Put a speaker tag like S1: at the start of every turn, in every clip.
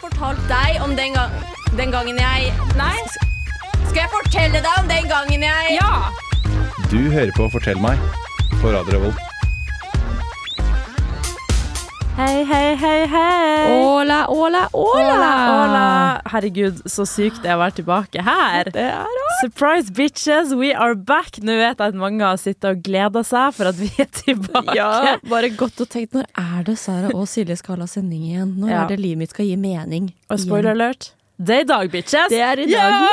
S1: fortalt deg om den, gang, den gangen jeg
S2: Nei?
S1: Skal jeg fortelle deg om den gangen jeg
S2: Ja!
S3: Du hører på Fortell meg på Radio Revolt.
S4: Hei, hei, hei, hei.
S2: Åla, åla, åla!
S4: Hola, hola. Herregud, så sykt det er å være tilbake her.
S2: Det er det.
S4: Surprise bitches, we are back. Nå vet jeg at mange har sittet og gleda seg for at vi er tilbake.
S2: Ja, bare godt å tenke Når er det Sara og Silje skal ha sending igjen? Når
S4: Ja.
S2: er det livet mitt skal gi mening?
S4: Og spoiler
S2: Igjen.
S4: alert, det er i dag, bitches.
S2: Det er i dag.
S4: Ja!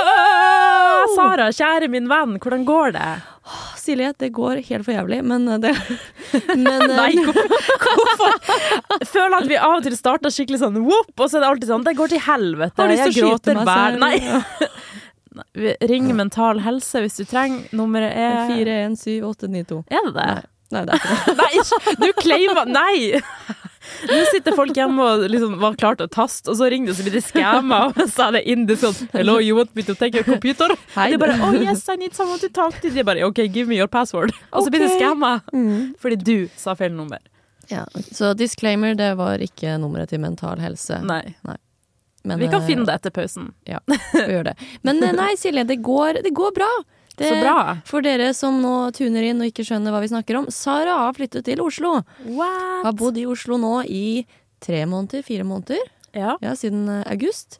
S4: Sara, kjære min venn, hvordan går det?
S2: Silje, det går helt for jævlig, men eh, det men, eh,
S4: Nei, hvorfor? Jeg føler at vi av og til starter skikkelig sånn whoop, og så er det alltid sånn det går til helvete.
S2: Har lyst til
S4: jeg
S2: å skyte
S4: gråter
S2: meg
S4: hver
S2: selv.
S4: Nei. Vi- Ring Mental Helse hvis du trenger. Nummeret er
S2: 417892.
S4: Er det det?
S2: Nei, det er ikke det.
S4: Nei, ikke- du claimer Nei! Nå sitter folk hjemme og liksom var klar til å taste, og så ringer du, så blir de skamma, og så er det indisk sånn Hello, you want me to take your computer?
S2: Hei.
S4: De bare Oh yes, I need someone to talk to. De bare OK, give me your password. Og så blir de
S2: Ok. Mm.
S4: skamma fordi du sa feil nummer.
S2: Ja. Så disclaimer, det var ikke nummeret til Mental Helse.
S4: Nei.
S2: Men,
S4: Vi kan
S2: eh,
S4: finne det etter pausen.
S2: Ja, skal gjøre det. Men eh, nei, Silje, det går, det går bra. Det,
S4: Så bra.
S2: For dere som nå tuner inn og ikke skjønner hva vi snakker om, Sara har flyttet til Oslo. Har bodd i Oslo nå i tre måneder, fire måneder,
S4: Ja.
S2: ja, siden eh, august.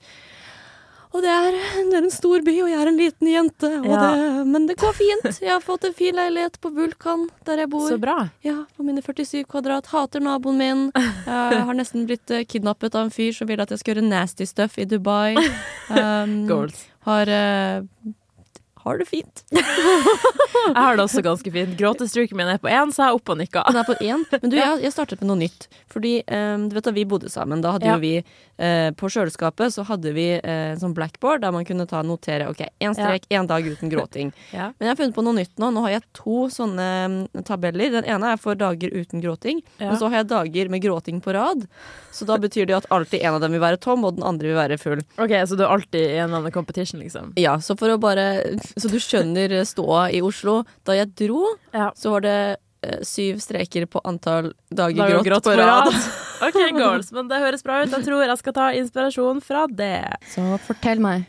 S2: Og det er, det er en stor by, og jeg er en liten jente. Og
S4: Ja.
S2: det, men det går fint. Jeg har fått en fin leilighet på Vulkan, der jeg bor.
S4: Så bra.
S2: Ja, på mine 47 kvadrat. Hater naboen min. Jeg har nesten blitt eh, kidnappet av en fyr som ville at jeg skulle gjøre nasty stuff i Dubai. Um,
S4: Goals.
S2: har eh, har det fint.
S4: Jeg har det også ganske fint. Gråtestreaken min er på én, så jeg er oppe og nikker.
S2: Den er på én. Men du, jeg, jeg startet med noe nytt. Fordi um, du vet da vi bodde sammen, da hadde
S4: Ja.
S2: jo vi eh, På kjøleskapet så hadde vi eh, en sånn blackboard der man kunne ta og notere OK, én strek, én dag uten gråting.
S4: Ja.
S2: Men jeg har funnet på noe nytt nå. Nå har jeg to sånne mm, tabeller. Den ene er for dager uten gråting,
S4: Ja.
S2: men så har jeg dager med gråting på rad. Så da betyr det jo at alltid en av dem vil være tom, og den andre vil være full.
S4: OK, så du er alltid i en eller annen competition, liksom?
S2: Ja, så for å bare Så du skjønner eh, ståa i Oslo. Da jeg dro,
S4: Ja.
S2: så var det eh, syv streker på antall
S4: Da
S2: dager
S4: er jo
S2: grått, på rad.
S4: OK, goals. Men det høres bra ut. Jeg tror jeg skal ta inspirasjon fra det.
S5: Så fortell meg.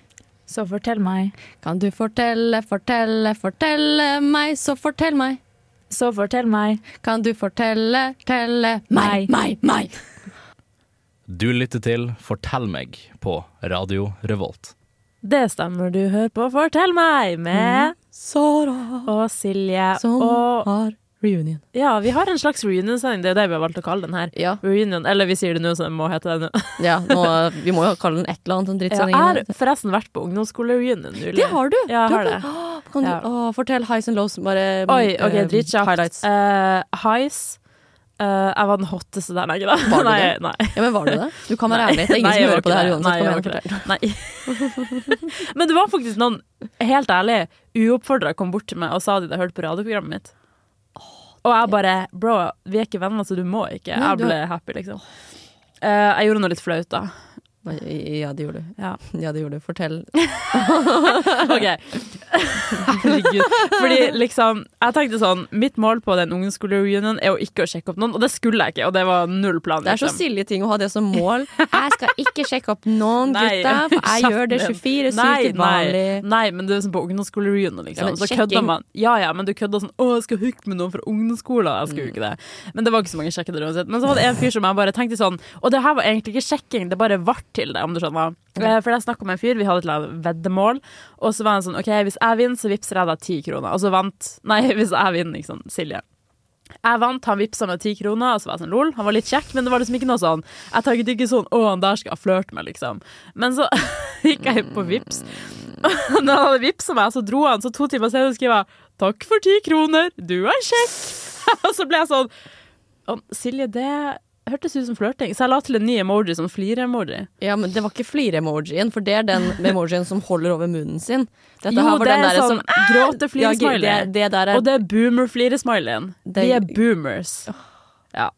S4: Så fortell meg.
S5: Kan du fortelle, fortelle, fortelle meg, så fortell meg.
S4: Så fortell meg.
S5: Kan du fortelle, telle meg, meg, meg.
S6: Du lytter til Fortell meg på Radio Revolt.
S4: Det stemmer du hører på Fortell meg med
S2: Sara
S4: og Silje
S2: som
S4: og
S2: har reunion.
S4: Ja, vi har en slags reunion-sending. Det er jo det vi har valgt å kalle den her.
S2: Ja,
S4: Reunion. Eller vi sier det nå, så det må hete det nå.
S2: ja nå, vi må jo kalle den et eller annet. Sånn
S4: Jeg
S2: drittsending.
S4: har forresten vært på ungdomsskole-reunion. nylig.
S2: Det har du!
S4: Ja, jeg
S2: Du
S4: har det.
S2: Åh, Kan du,
S4: Ja.
S2: åh, fortell highs and lows. Bare
S4: Oi, ok,
S2: eh,
S4: dritkjapt.
S2: highlights.
S4: Uh, highs. Eh, jeg var den hotteste der, nei, ikke da.
S2: Var du
S4: nei,
S2: det?
S4: nei.
S2: Ja, men var det det? Du kan være ærlig. Det er ingen
S4: Nei,
S2: som
S4: jeg var
S2: hører på det her
S4: ikke
S2: uansett.
S4: Nei,
S2: Kom
S4: jeg
S2: igjen,
S4: var
S2: fortell.
S4: ikke det. Nei. Men det var faktisk noen, helt ærlig, uoppfordra kom bort til meg og sa de hadde hørt på radioprogrammet mitt. Og jeg bare Bro, vi er ikke venner, så du må ikke.
S2: Nei,
S4: Jeg
S2: du
S4: ble happy, liksom. Eh, jeg gjorde noe litt flaut, da.
S2: Nei, Ja, det gjorde du.
S4: Ja.
S2: Ja, det gjorde du. Fortell.
S4: OK. Herregud. Fordi liksom Jeg tenkte sånn Mitt mål på den ungdomsskolereunionen er jo ikke å sjekke opp noen, og det skulle jeg ikke, og det var null plan.
S2: Det er så
S4: liksom.
S2: silje ting å ha det som mål. Jeg skal ikke sjekke opp noen
S4: Nei.
S2: gutter, for jeg gjør det
S4: Kjeften din.
S2: 24 7
S4: Nei,
S2: til vanlig.
S4: Nei, nei, men det er sånn på ungdomsskolereunion, liksom.
S2: Ja, men
S4: så
S2: sjekking-
S4: kødder man. Ja, ja, men du kødder sånn 'Å, jeg skal hooke med noen fra ungdomsskolen'. Jeg skulle jo ikke det. Men det var ikke så mange sjekkede uansett. Men så var det en fyr som jeg bare tenkte sånn Og det her var egentlig ikke sjekking, det bare vart til det, om du skjønner. Eh, For jeg snakka med en fyr, vi hadde et eller annet veddemål, og så var han sånn 'OK, hvis jeg vinner, så vippser jeg deg ti kroner'. Og så vant Nei, hvis jeg vinner, liksom. Silje. Jeg vant, han vippsa meg ti kroner, og så var jeg sånn lol. Han var litt kjekk, men det var liksom ikke noe sånn Jeg tenkte ikke sånn å, han der skal jeg flørte med, liksom. Men så gikk jeg på vips. Og Når han hadde vipsa meg, så dro han, så to timer senere skrev jeg takk for ti kroner, du er kjekk. Og så ble jeg sånn «Å, Silje, det hørtes ut som flørting. Så jeg la til en ny emoji, sånn flire-emoji.
S2: Ja, men det var ikke flire-emojien, for det er den emojien som holder over munnen sin. Dette
S4: Jo,
S2: her var
S4: det
S2: den
S4: er
S2: der
S4: sånn
S2: som «Ah!»
S4: gråte-flire-smiley.
S2: Ja, det, det der er
S4: Og det er boomer-flire-smileyen. Vi
S2: Det-
S4: er boomers. Ja.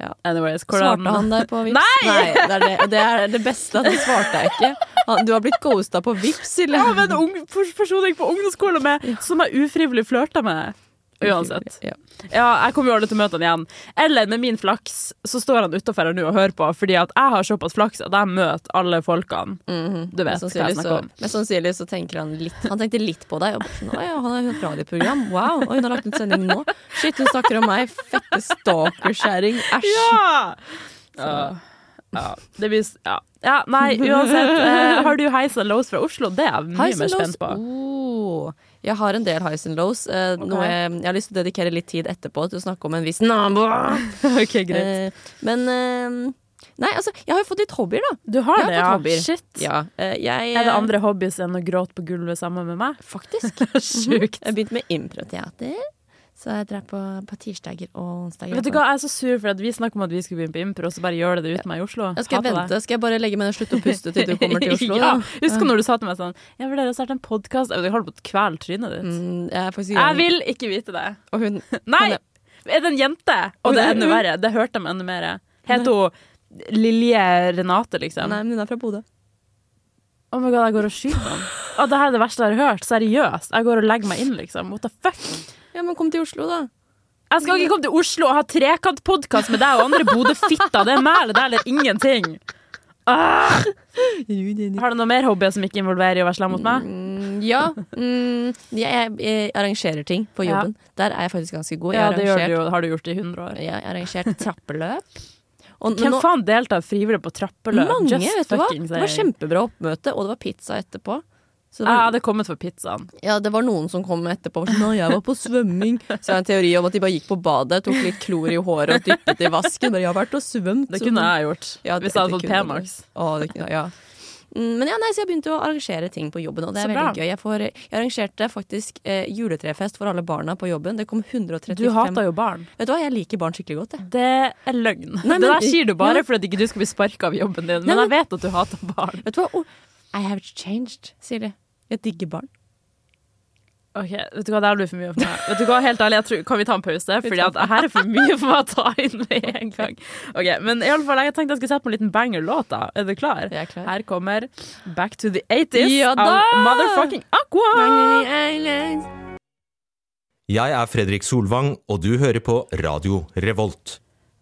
S2: Ja.
S4: Anyways, hvordan
S2: Svarte han deg på Vips?
S4: Nei!
S2: det, er det, og det er det beste, at han svarte deg ikke. Han, du har blitt ghosta på Vips, Silje.
S4: av en ung pers- person jeg gikk på ungdomsskolen med, som jeg ufrivillig flørta med. uansett.
S2: Ja.
S4: Ja, jeg kommer jo aldri til å møte han igjen. Eller med min flaks, så står han utafor her nå og hører på, fordi at jeg har såpass flaks at jeg møter alle folkene. Du
S2: Mest
S4: vet hva jeg
S2: sannsynlig,
S4: snakker
S2: Mhm. så,
S4: om.
S2: mest sannsynlig så tenker han litt Han tenkte litt på deg. Og bare sånn, «Å ja, han har jo et radioprogram. Wow! Og hun har lagt ut sending nå. Shit, hun snakker om meg. Fette stalkerskjæring. Æsj.
S4: Ja! Ja. ja. Det blir s- Ja. ja nei, uansett. eh, har du highs and lows fra Oslo? Det er jeg mye
S2: Highs
S4: mer
S2: and
S4: spent
S2: lows.
S4: på.
S2: Oh, jeg har en del highs and lows. eh, Noe jeg, jeg har lyst til å dedikere litt tid etterpå til å snakke om en viss nabo.
S4: ok, greit.
S2: Eh, men eh, Nei, altså, jeg har jo fått litt hobbyer, da.
S4: Du har
S2: jeg har
S4: det,
S2: fått
S4: ja.
S2: hobbyer.
S4: Shit.
S2: Ja, eh, jeg,
S4: Er det
S2: eh,
S4: andre hobbies enn å gråte på gulvet sammen med meg?
S2: Faktisk.
S4: Sjukt.
S2: Mhm. Jeg begynte med improteater. Så jeg drar på, på tirsdager og onsdager.
S4: Vet du hva, jeg er så sur for at vi snakker om at vi skulle begynne på impro, og så bare gjør det det uten meg i Oslo.
S2: Jeg skal
S4: Hater
S2: jeg
S4: det.
S2: vente? Skal jeg bare legge meg ned og slutte å puste til du kommer til Oslo?
S4: ja,
S2: da?
S4: husker når du sa til meg sånn Jeg vurderer å starte en podkast. Jeg holder på å kvele trynet ditt.
S2: Mm, jeg er faktisk i
S4: Jeg
S2: gang.
S4: vil ikke vite det.
S2: Og hun
S4: Nei!
S2: Kan
S4: Er det en jente? Og det er enda verre. Det hørte de enda mer. Het hun Lilje Renate, liksom?
S2: Nei, men hun er fra Bodø.
S4: Oh my god, jeg går og skyter ham. Å, det her er det verste jeg har hørt. Seriøst. Jeg går og legger meg inn, liksom. What the fuck?
S2: Ja, men kom til Oslo, da.
S4: Jeg skal ikke komme til Oslo og ha trekantpodkast med deg og andre Bodø-fitta. Det er meg eller deg eller ingenting. Ah! Har du noe mer hobbyer som ikke involverer i å være slem mot meg?
S2: Mm, ja. Mm, jeg, jeg arrangerer ting på
S4: Ja.
S2: jobben. Der er jeg faktisk ganske god. Jeg
S4: Ja,
S2: har
S4: det gjør
S2: arrangert-
S4: du jo. Har du gjort det i 100 år.
S2: Ja, jeg har arrangert trappeløp. Og, men
S4: Hvem
S2: nå-
S4: faen deltar frivillig på trappeløp?
S2: Mange,
S4: Just
S2: vet du hva.
S4: fucking
S2: Det var
S4: saying.
S2: kjempebra oppmøte, og det var pizza etterpå. Så det
S4: Jeg
S2: var,
S4: hadde kommet for pizzaen.
S2: ja, det var noen som kom etterpå og sa at jeg var på svømming. Så jeg har en teori om at de bare gikk på badet, tok litt klor i håret og dyppet i vasken. Bare, jeg har vært og svømt.
S4: Det
S2: så-
S4: kunne jeg gjort.
S2: Ja, det-
S4: hvis jeg hadde
S2: det
S4: fått
S2: kunne
S4: P-max.
S2: du. Å, det kunne- ja. Mm, Men ja, nei, så jeg begynte å arrangere ting på jobben, og det er
S4: Så
S2: veldig
S4: bra.
S2: gøy. Jeg, får, jeg arrangerte faktisk eh, juletrefest for alle barna på jobben. Det kom 135
S4: Du hater jo barn.
S2: Vet du hva, jeg liker barn skikkelig godt, jeg.
S4: Det er løgn.
S2: Nei, men-
S4: det der sier du bare
S2: Ja.
S4: for at ikke du skal bli sparka av jobben din. Men
S2: Nei,
S4: jeg vet at du hater barn.
S2: Vet du hva? Oh, I have changed, sier de. Jeg digger barn.
S4: Ok, vet du hva, Det her blir for mye for meg. Vet du hva, helt ærlig, jeg tror, Kan vi ta en pause? Fordi at her er for mye for meg å ta inn med en gang. Ok, Men i alle fall, jeg tenkte jeg skulle sette på en liten banger-låt. da. Er du klar?
S2: Jeg er klar.
S4: Her kommer Back to the 80s
S2: Ja da!
S4: av Motherfucking Aqua.
S7: Jeg er Fredrik Solvang, og du hører på Radio Revolt.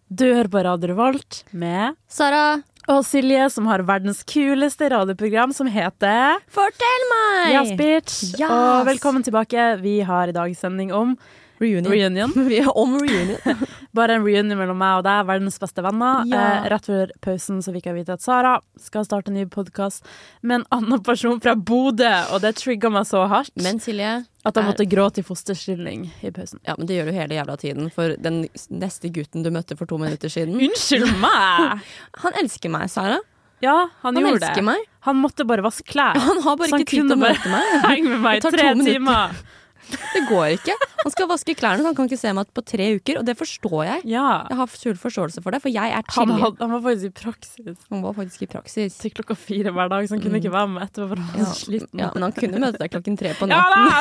S4: Du hører på Radio Revolt med
S5: Sara,
S4: Og Silje, som har verdens kuleste radioprogram, som heter
S2: Fortell meg!
S4: Yes Bitch.
S2: Yes.
S4: Og velkommen tilbake. Vi har i dag sending om
S2: reunion.
S4: reunion.
S2: Vi er om reunion.
S4: Bare en reunion mellom meg og deg, verdens beste venner.
S2: Ja.
S4: Eh, rett før pausen så fikk jeg vite at Sara skal starte en ny podkast med en annen person fra Bodø, og det trigga meg så hardt
S2: Men Silje,
S4: at jeg
S2: er-
S4: måtte gråte i fosterstilling i pausen.
S2: ja, men det gjør du hele jævla tiden, for den s- neste gutten du møtte for to minutter siden
S4: Unnskyld meg!
S2: Han elsker meg, Sara.
S4: Ja, han,
S2: Han
S4: gjorde
S2: elsker
S4: det.
S2: meg.
S4: Han måtte bare vaske klær.
S2: Han har bare
S4: Så han
S2: ikke tid til
S4: kunne
S2: å
S4: bare
S2: møte meg.
S4: Henge med meg
S2: Det
S4: i
S2: tar
S4: tre
S2: to minutter.
S4: timer.
S2: Det går ikke. Han skal vaske klærne, så han kan ikke se meg på tre uker, og det forstår jeg.
S4: Ja.
S2: Jeg har full forståelse for det, for jeg er
S4: Han,
S2: chillig.
S4: had, han var faktisk i praksis
S2: Han var faktisk i praksis.
S4: til klokka fire hver dag, så han kunne ikke være med etterpå. For han var
S2: Mm. Ja.
S4: så sliten.
S2: Ja, men han kunne møte deg klokken tre
S4: Ja
S2: på natten.
S4: da,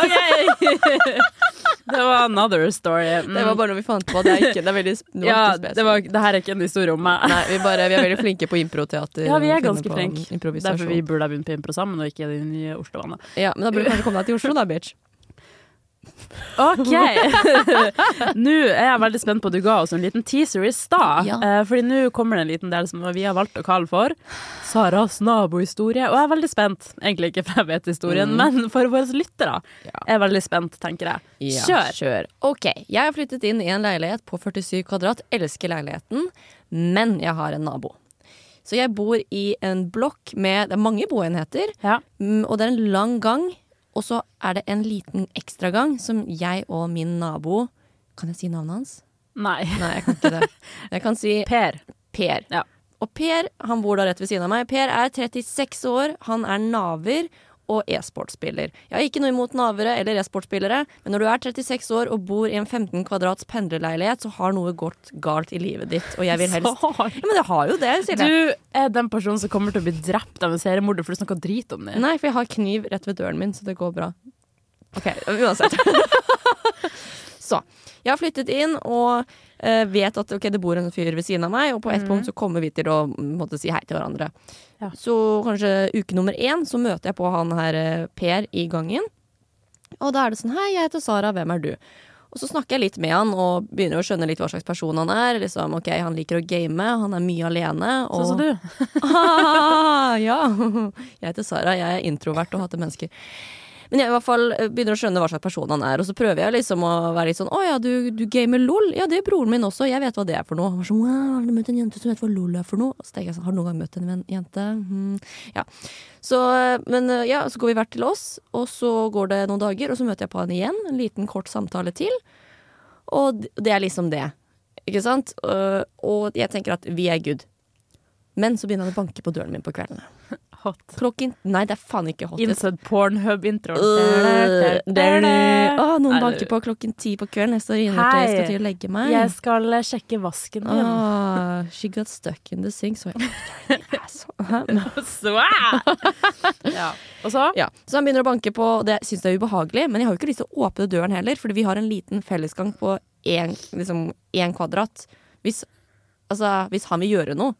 S4: ok! det var another story. Mm.
S2: Det var bare noe vi fant på. Det er ikke, det er veldig sp- det var
S4: ja,
S2: ikke spesifikt.
S4: det, var, det her er ikke en historie om meg.
S2: Nei, vi, bare, vi er veldig flinke på improteater.
S4: Ja, vi
S2: og
S4: er
S2: finne
S4: ganske
S2: på
S4: flinke.
S2: improvisasjon.
S4: Derfor vi burde ha begynt på impro sammen, og ikke i de nye Oslo-vannet.
S2: Ja, men da burde du kanskje komme deg til Oslo, da, bitch.
S4: OK! nå er jeg veldig spent på at du ga oss en liten teaser i stad.
S2: Ja.
S4: Eh, Fordi nå kommer det en liten del som vi har valgt å kalle for Saras nabohistorie. Og jeg er veldig spent. Egentlig ikke for jeg vet
S2: Mm.
S4: historien, men for våre lyttere er jeg veldig spent, tenker jeg. Kjør!
S2: Ok, jeg har flyttet inn i en leilighet på 47 kvadrat, elsker leiligheten, men jeg har en nabo. Så jeg bor i en blokk med Det er mange boenheter,
S4: Ja.
S2: mm, og det er en lang gang. Og så er det en liten ekstragang som jeg og min nabo Kan jeg si navnet hans?
S4: Nei.
S2: Nei, jeg kan ikke det. Jeg kan si
S4: Per.
S2: Per.
S4: Ja.
S2: Og Per han bor da rett ved siden av meg. Per er 36 år, han er naver og e-sportspiller. Jeg har ikke noe imot navere eller e-sportspillere, men når du er 36 år og bor i en 15 kvadrats pendlerleilighet, så har noe gått galt i livet ditt, og jeg vil helst
S4: Sara.
S2: ja, Men det har jo det, sier jeg.
S4: Du er den personen som kommer til å bli drept av en seriemorder for du snakker drit om det.
S2: Nei, for jeg har kniv rett ved døren min, så det går bra. OK, uansett. så. Jeg har flyttet inn og eh, vet at ok, det bor en fyr ved siden av meg, og på et punkt så kommer vi til å mm, måtte si hei til hverandre.
S4: Mhm. Ja.
S2: Så kanskje uke nummer én så møter jeg på han her eh, Per i gangen. Og da er det sånn Hei, jeg heter Sara, hvem er du? Og så snakker jeg litt med han og begynner å skjønne litt hva slags person han er. Liksom, ok, Han liker å game, han er mye alene. Og...
S4: Sånn som du.
S2: ah, ja. Jeg heter Sara, jeg er introvert og hater mennesker. Men jeg i hvert fall eh, begynner å skjønne hva slags person han er, og så prøver jeg liksom å være litt sånn 'Å ja, du, du gamer LOL?' Ja, det er broren min også, jeg vet hva det er for noe. Han var sånn, wow, 'Har du møtt en jente som vet hva LOL er for noe?' Og så tenker jeg sånn 'Har du noen gang møtt en ven- jente?' Hmm. Ja. Så, eh, men ja, så går vi hvert til oss, og så går det noen dager, og så møter jeg på han igjen. En liten, kort samtale til. Og d- det er liksom det. Ikke sant? Øh, Og jeg tenker at vi er good. Men så begynner han å banke på døren min på kveldene.
S4: Hot.
S2: Klokken Nei, det er faen ikke hot.
S4: Innsett pornhub-introen.
S2: Øh, der du- Å, noen
S4: Nei,
S2: banker på klokken ti på kvelden. Jeg står inne til jeg skal til å legge meg.
S4: Jeg skal eh, sjekke vasken din.
S2: Ah, she got stuck in the sink, så jeg Hæ?
S4: Svæ! ja. Og så?
S2: Ja. Så han begynner å banke på, og det syns jeg er ubehagelig. Men jeg har jo ikke lyst til å åpne døren heller, fordi vi har en liten fellesgang på én liksom, én kvadrat. Hvis, altså, hvis han vil gjøre noe,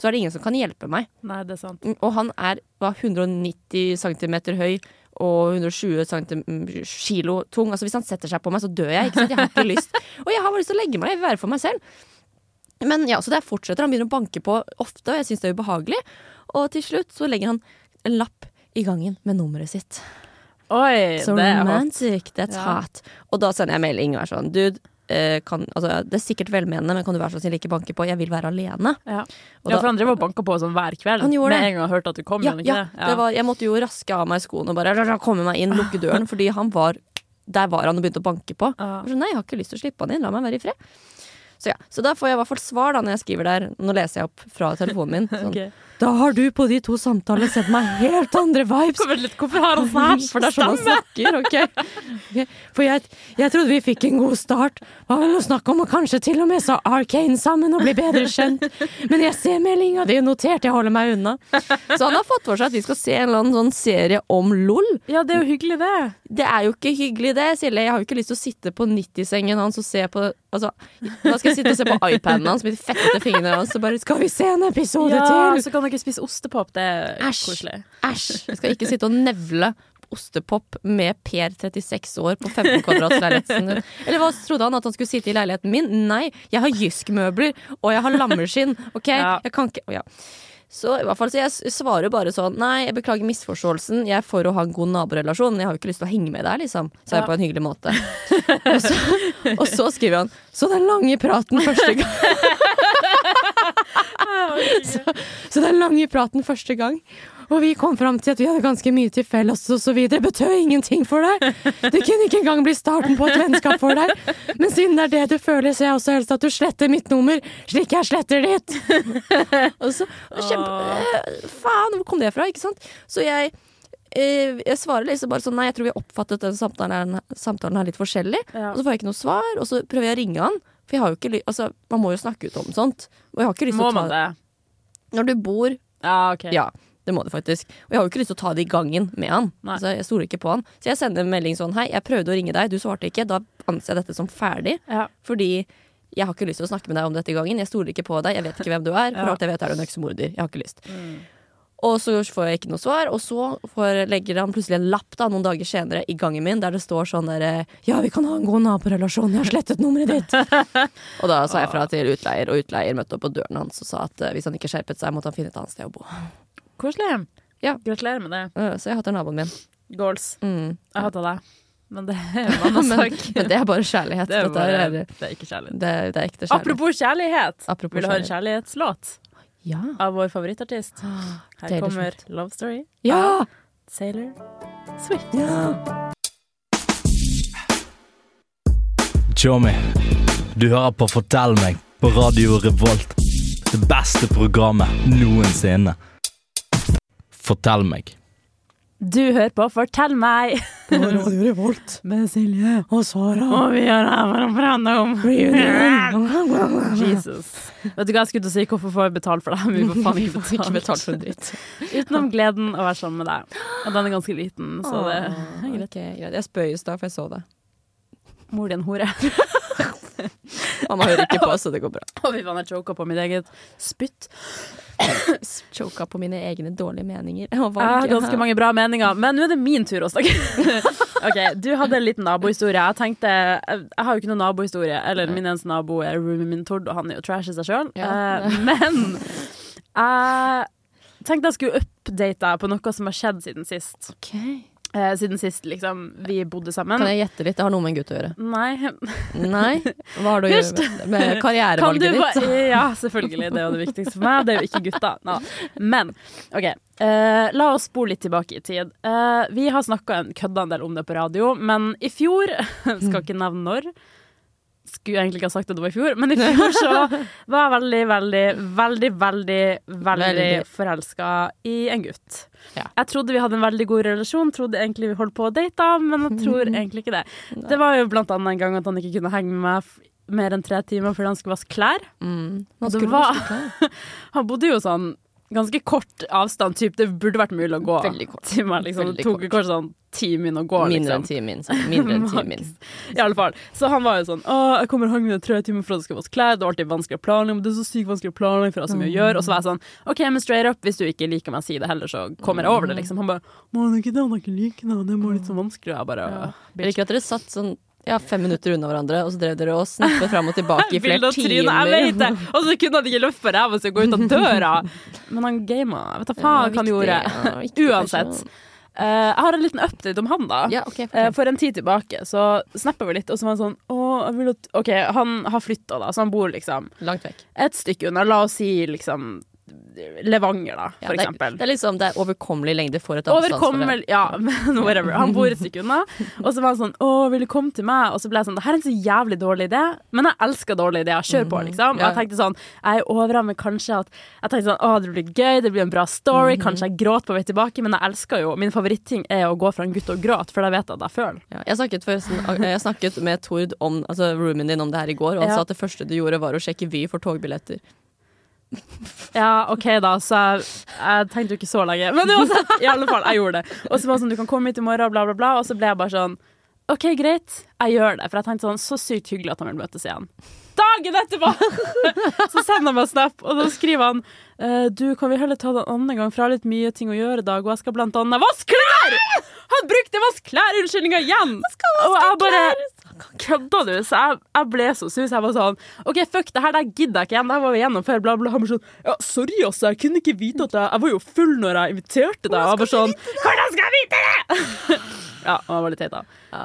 S2: så er det ingen som kan hjelpe meg.
S4: Nei, det er sant.
S2: Mm, Og han er hva, 190 cm høy og 120 cm, kilo tung. Altså Hvis han setter seg på meg, så dør jeg. Ikke sant? Jeg har ikke lyst. Og jeg har bare lyst til å legge meg. Jeg vil være for meg selv. Men ja, så det fortsetter. Han begynner å banke på ofte, og jeg syns det er ubehagelig. Og til slutt så legger han en lapp i gangen med nummeret sitt.
S4: Oi,
S2: So
S4: det er hot.
S2: romantic, that's hot. Og da sender jeg melding og er sånn, dude, eh, kan, altså, det er sikkert velmenende, men kan du være så snill ikke banke på? Jeg vil være alene.
S4: Ja. ja,
S2: Og da-
S4: for han drev og banka på sånn hver kveld.
S2: Han gjorde
S4: Med
S2: det.
S4: en gang han hørte at du kom.
S2: Ja,
S4: gjorde han ikke
S2: ja.
S4: det?
S2: Det var, jeg måtte jo raske av meg skoene og bare rr, rr, komme meg inn, lukke døren, fordi han var der var han og begynte å banke på.
S4: Ja.
S2: Jeg var sånn, Nei, jeg har ikke lyst til å slippe han inn, la meg være i fred. Så ja, så da får jeg i hvert fall svar da når jeg skriver der. Nå leser jeg opp fra telefonen min. Sånn,
S4: Ok.
S2: Da har du på de to samtalene sendt meg helt andre vibes.
S4: Hvorfor, litt, hvorfor har han sånn her?
S2: For det er sånn han snakker, ok? Ok, For jeg, jeg trodde vi fikk en god start. Hva var det noe snakk om å kanskje til og med sa Arcane sammen og bli bedre kjent? Men jeg ser meldinga, det er notert, jeg holder meg unna. Så han har fått for seg at vi skal se en eller annen sånn serie om LOL.
S4: Ja, det er jo hyggelig, det.
S2: Det er jo ikke hyggelig, det, Silje. Jeg har jo ikke lyst til å sitte på 90-sengen hans og se på Altså, da skal jeg sitte og se på iPaden hans med de fettete fingrene hans og bare Skal vi se en episode
S4: Ja,
S2: til?
S4: Så kan dere spise ostepop. Det er
S2: Æsj.
S4: koselig.
S2: Æsj! Jeg skal ikke sitte og nevle ostepop med Per 36 år på 15 kvadrats leiligheten din. Eller hva trodde han? At han skulle sitte i leiligheten min? Nei, jeg har jyskmøbler, og jeg har lammeskinn. Ok?
S4: Ja.
S2: Jeg kan ikke ja. Så i hvert fall, så jeg s- svarer bare sånn Nei, jeg beklager misforståelsen. Jeg er for å ha en god naborelasjon. men Jeg har jo ikke lyst til å henge med deg, liksom. Sa jeg
S4: Ja.
S2: på en hyggelig måte. Og så, og så skriver han Så den lange praten første gang. Så den lange praten første gang. Og vi kom fram til at vi hadde ganske mye til felles og så videre. Betød ingenting for deg. Det kunne ikke engang bli starten på et vennskap for deg. Men siden det er det du føler, ser jeg også helst at du sletter mitt nummer, slik jeg sletter ditt. Og så kjempe... Eh, Faen, hvor kom det fra, ikke sant? Så jeg eh, jeg svarer liksom bare sånn Nei, jeg tror vi har oppfattet den samtalen her, samtalen her litt forskjellig.
S4: Ja.
S2: Og så får jeg ikke noe svar, og så prøver jeg å ringe han. For jeg har jo ikke ly altså, man må jo snakke ut om sånt. Og jeg har ikke lyst til
S4: Må
S2: å ta
S4: man det?
S2: Når du bor
S4: Ja, OK.
S2: ja, det må det faktisk. Og jeg har jo ikke lyst til å ta det i gangen med han.
S4: Nei.
S2: Altså, jeg stoler ikke på han. Så jeg sender en melding sånn Hei, jeg prøvde å ringe deg, du svarte ikke. Da anser jeg dette som ferdig.
S4: Ja.
S2: Fordi jeg har ikke lyst til å snakke med deg om dette i gangen. Jeg stoler ikke på deg, jeg vet ikke hvem du er. For
S4: Ja. Mm.
S2: alt jeg vet, er du en øksemorder. Jeg har ikke lyst. Og så får jeg ikke noe svar, og så får, legger han plutselig en lapp da, noen dager senere i gangen min der det står sånn derre Ja, vi kan ha en god naborelasjon, jeg har slettet nummeret ditt. og da
S4: Ah.
S2: sa jeg fra til utleier, og utleier møtte opp på døren hans og sa at eh, hvis han ikke skjerpet seg, måtte han finne et annet sted å bo.
S4: Koselig.
S2: Ja.
S4: Gratulerer med det.
S2: Øh, Så jeg hater naboen min.
S4: Goals.
S2: Mm.
S4: Jeg hater deg. Men det er en
S2: Men,
S4: annen sak.
S2: men det er bare kjærlighet.
S4: Det er,
S2: Dette
S4: bare,
S2: er,
S4: det er ikke kjærlighet.
S2: det er, det er ekte kjærlighet.
S4: Apropos kjærlighet.
S2: Apropos
S4: Vil du høre en kjærlighetslåt
S2: Ja.
S4: av vår favorittartist? Her
S2: Taylor
S4: kommer Love Story.
S2: Ja!
S4: Sailor Swift.
S6: Tjommi, du hører på Fortell meg på Radio Revolt. Det beste programmet noensinne. Fortell meg.
S4: Du hører på Fortell meg med Silje.
S2: Og Sara.
S4: Og vi har her for å prate om Jesus. Vet du hva jeg skulle til å si? Hvorfor får vi betalt for det? her? Vi får faen ikke betalt.
S2: Ikke betalt for en dritt.
S4: Utenom gleden å være sammen med deg. Og den er ganske liten, så det er greit.
S2: Ok, greit. Jeg spøy i stad, for jeg så det.
S4: Mor din hore.
S2: Mamma hører ikke på, så det går bra.
S4: Å, fy faen, jeg choka på mitt eget spytt.
S2: Choka på mine egne dårlige meninger. Og
S4: Jeg har
S2: valg.
S4: Ah, ganske mange bra meninger, men nå er det min tur å snakke. Ok, Du hadde en liten nabohistorie. Jeg tenkte, jeg jeg har jo ikke noen nabohistorie. Eller min eneste nabo er roomien min, Tord, og han er jo trash i seg sjøl.
S5: Ja.
S4: Men jeg tenkte jeg skulle update deg på noe som har skjedd siden sist. Eh, Siden sist liksom, vi bodde sammen.
S2: Kan jeg gjette litt? Det har noe med en gutt å gjøre.
S4: Nei,
S2: Nei? Hva har det å gjøre med, med
S4: Kan
S2: karrierevalget
S4: du
S2: ditt?
S4: ba- Ja, selvfølgelig. Det er jo det viktigste for meg. Det er jo ikke gutta. Nå. Men OK. eh, la oss spole litt tilbake i tid. Eh, vi har snakka en kødda en del om det på radio, men i fjor Skal ikke nevne når. Skulle egentlig ikke ha sagt at det var i fjor, men i fjor så var jeg veldig, veldig, veldig, veldig, veldig
S2: Veldig.
S4: forelska i en gutt.
S2: Ja.
S4: Jeg trodde vi hadde en veldig god relasjon, trodde egentlig vi holdt på å date, men jeg tror egentlig ikke det. Det var jo blant annet en gang at han ikke kunne henge med meg f- mer enn tre timer fordi han skulle vaske klær.
S2: Man
S4: Det
S2: Mm. skulle
S4: var-
S2: vaske klær.
S4: Han bodde jo sånn ganske kort avstand, typ. det burde vært mulig å gå.
S2: Veldig kort.
S4: til meg, liksom.
S2: Veldig
S4: Det tok jo kanskje sånn ti min å gå. Liksom.
S2: Mindre enn timen. så Mindre enn timen.
S4: I alle fall. Så han var jo sånn Å, jeg kommer og henger med deg i tre timer for at det skal vaske klær. Det var alltid vanskelig å planlegge, men det er så sykt vanskelig å planlegge for alt som jeg gjør. Og så var jeg sånn OK, men straight up, hvis du ikke liker meg, si det heller, så kommer jeg over det, liksom. Han bare Må han ikke det, han har ikke liker meg, det må litt så vanskelig. Og jeg bare
S2: Jeg liker at dere satt sånn ja, fem minutter unna hverandre, og så drev dere og snappet fram og tilbake i
S4: Bilde
S2: flere
S4: og tryne, jeg vet
S2: timer.
S4: det! Og så kunne han ikke løfte ræva si og gå ut av døra. Men han gama. Jeg vet da faen hva han gjorde. Uansett. Eh, jeg har en liten update om han, da.
S2: Ja, ok,
S4: Eh,
S2: fortell.
S4: for en tid tilbake så snappa vi litt, og så var han sånn Å, jeg vil at OK, han har flytta, da, så han bor liksom
S2: Langt vekk.
S4: et stykke unna. La oss si liksom Levanger, da,
S2: Ja,
S4: for
S2: det, er,
S4: eksempel.
S2: det er liksom det er overkommelig lengde for et
S4: Overkommelig Ja, men whatever. Han bor et stykke unna. Og så var han sånn 'Å, vil du komme til meg?' Og så ble jeg sånn 'Det her er en så jævlig dårlig idé', men jeg elsker dårlige ideer. Kjør
S2: Mhm.
S4: på, liksom. Og jeg tenkte sånn Jeg er overrammet kanskje at Jeg tenkte sånn 'Å, det blir gøy, det blir en bra story',
S2: Mhm.
S4: kanskje jeg gråter på vei tilbake, men jeg elsker jo Min favoritting er å gå fra en gutt og gråte, for da vet jeg at jeg føler.
S2: Ja, jeg, snakket forresten, jeg snakket med Tord om altså roomien din om det her i går, og han
S4: Ja.
S2: sa at det første du gjorde, var å sjekke Vy for togbilletter.
S4: Ja, OK, da, så jeg, jeg tenkte jo ikke så lenge. Men uansett, i alle fall, jeg gjorde det. Og så var det sånn 'Du kan komme hit i morgen', bla, bla, bla. Og så ble jeg bare sånn OK, greit, jeg gjør det. For jeg tenkte sånn Så sykt hyggelig at han vil møtes igjen. Dagen etterpå! Så sender han meg en snap, og da skriver han eh, Du, kan vi heller ta det en annen gang, for jeg har litt mye ting å gjøre i dag, og jeg skal blant annet vaske klær! Han brukte vask klær-unnskyldninga igjen! Og jeg bare Kødda du? Så jeg, jeg ble så sus. Jeg var sånn OK, fuck, det her der gidder jeg ikke igjen. Det her var vi gjennom før, bla, bla. Han var sånn Ja, sorry, altså, jeg kunne ikke vite at jeg Jeg var jo full når jeg inviterte deg. Og jeg var sånn Hvordan skal jeg vite det?! ja, og jeg var litt teit, da. Eh,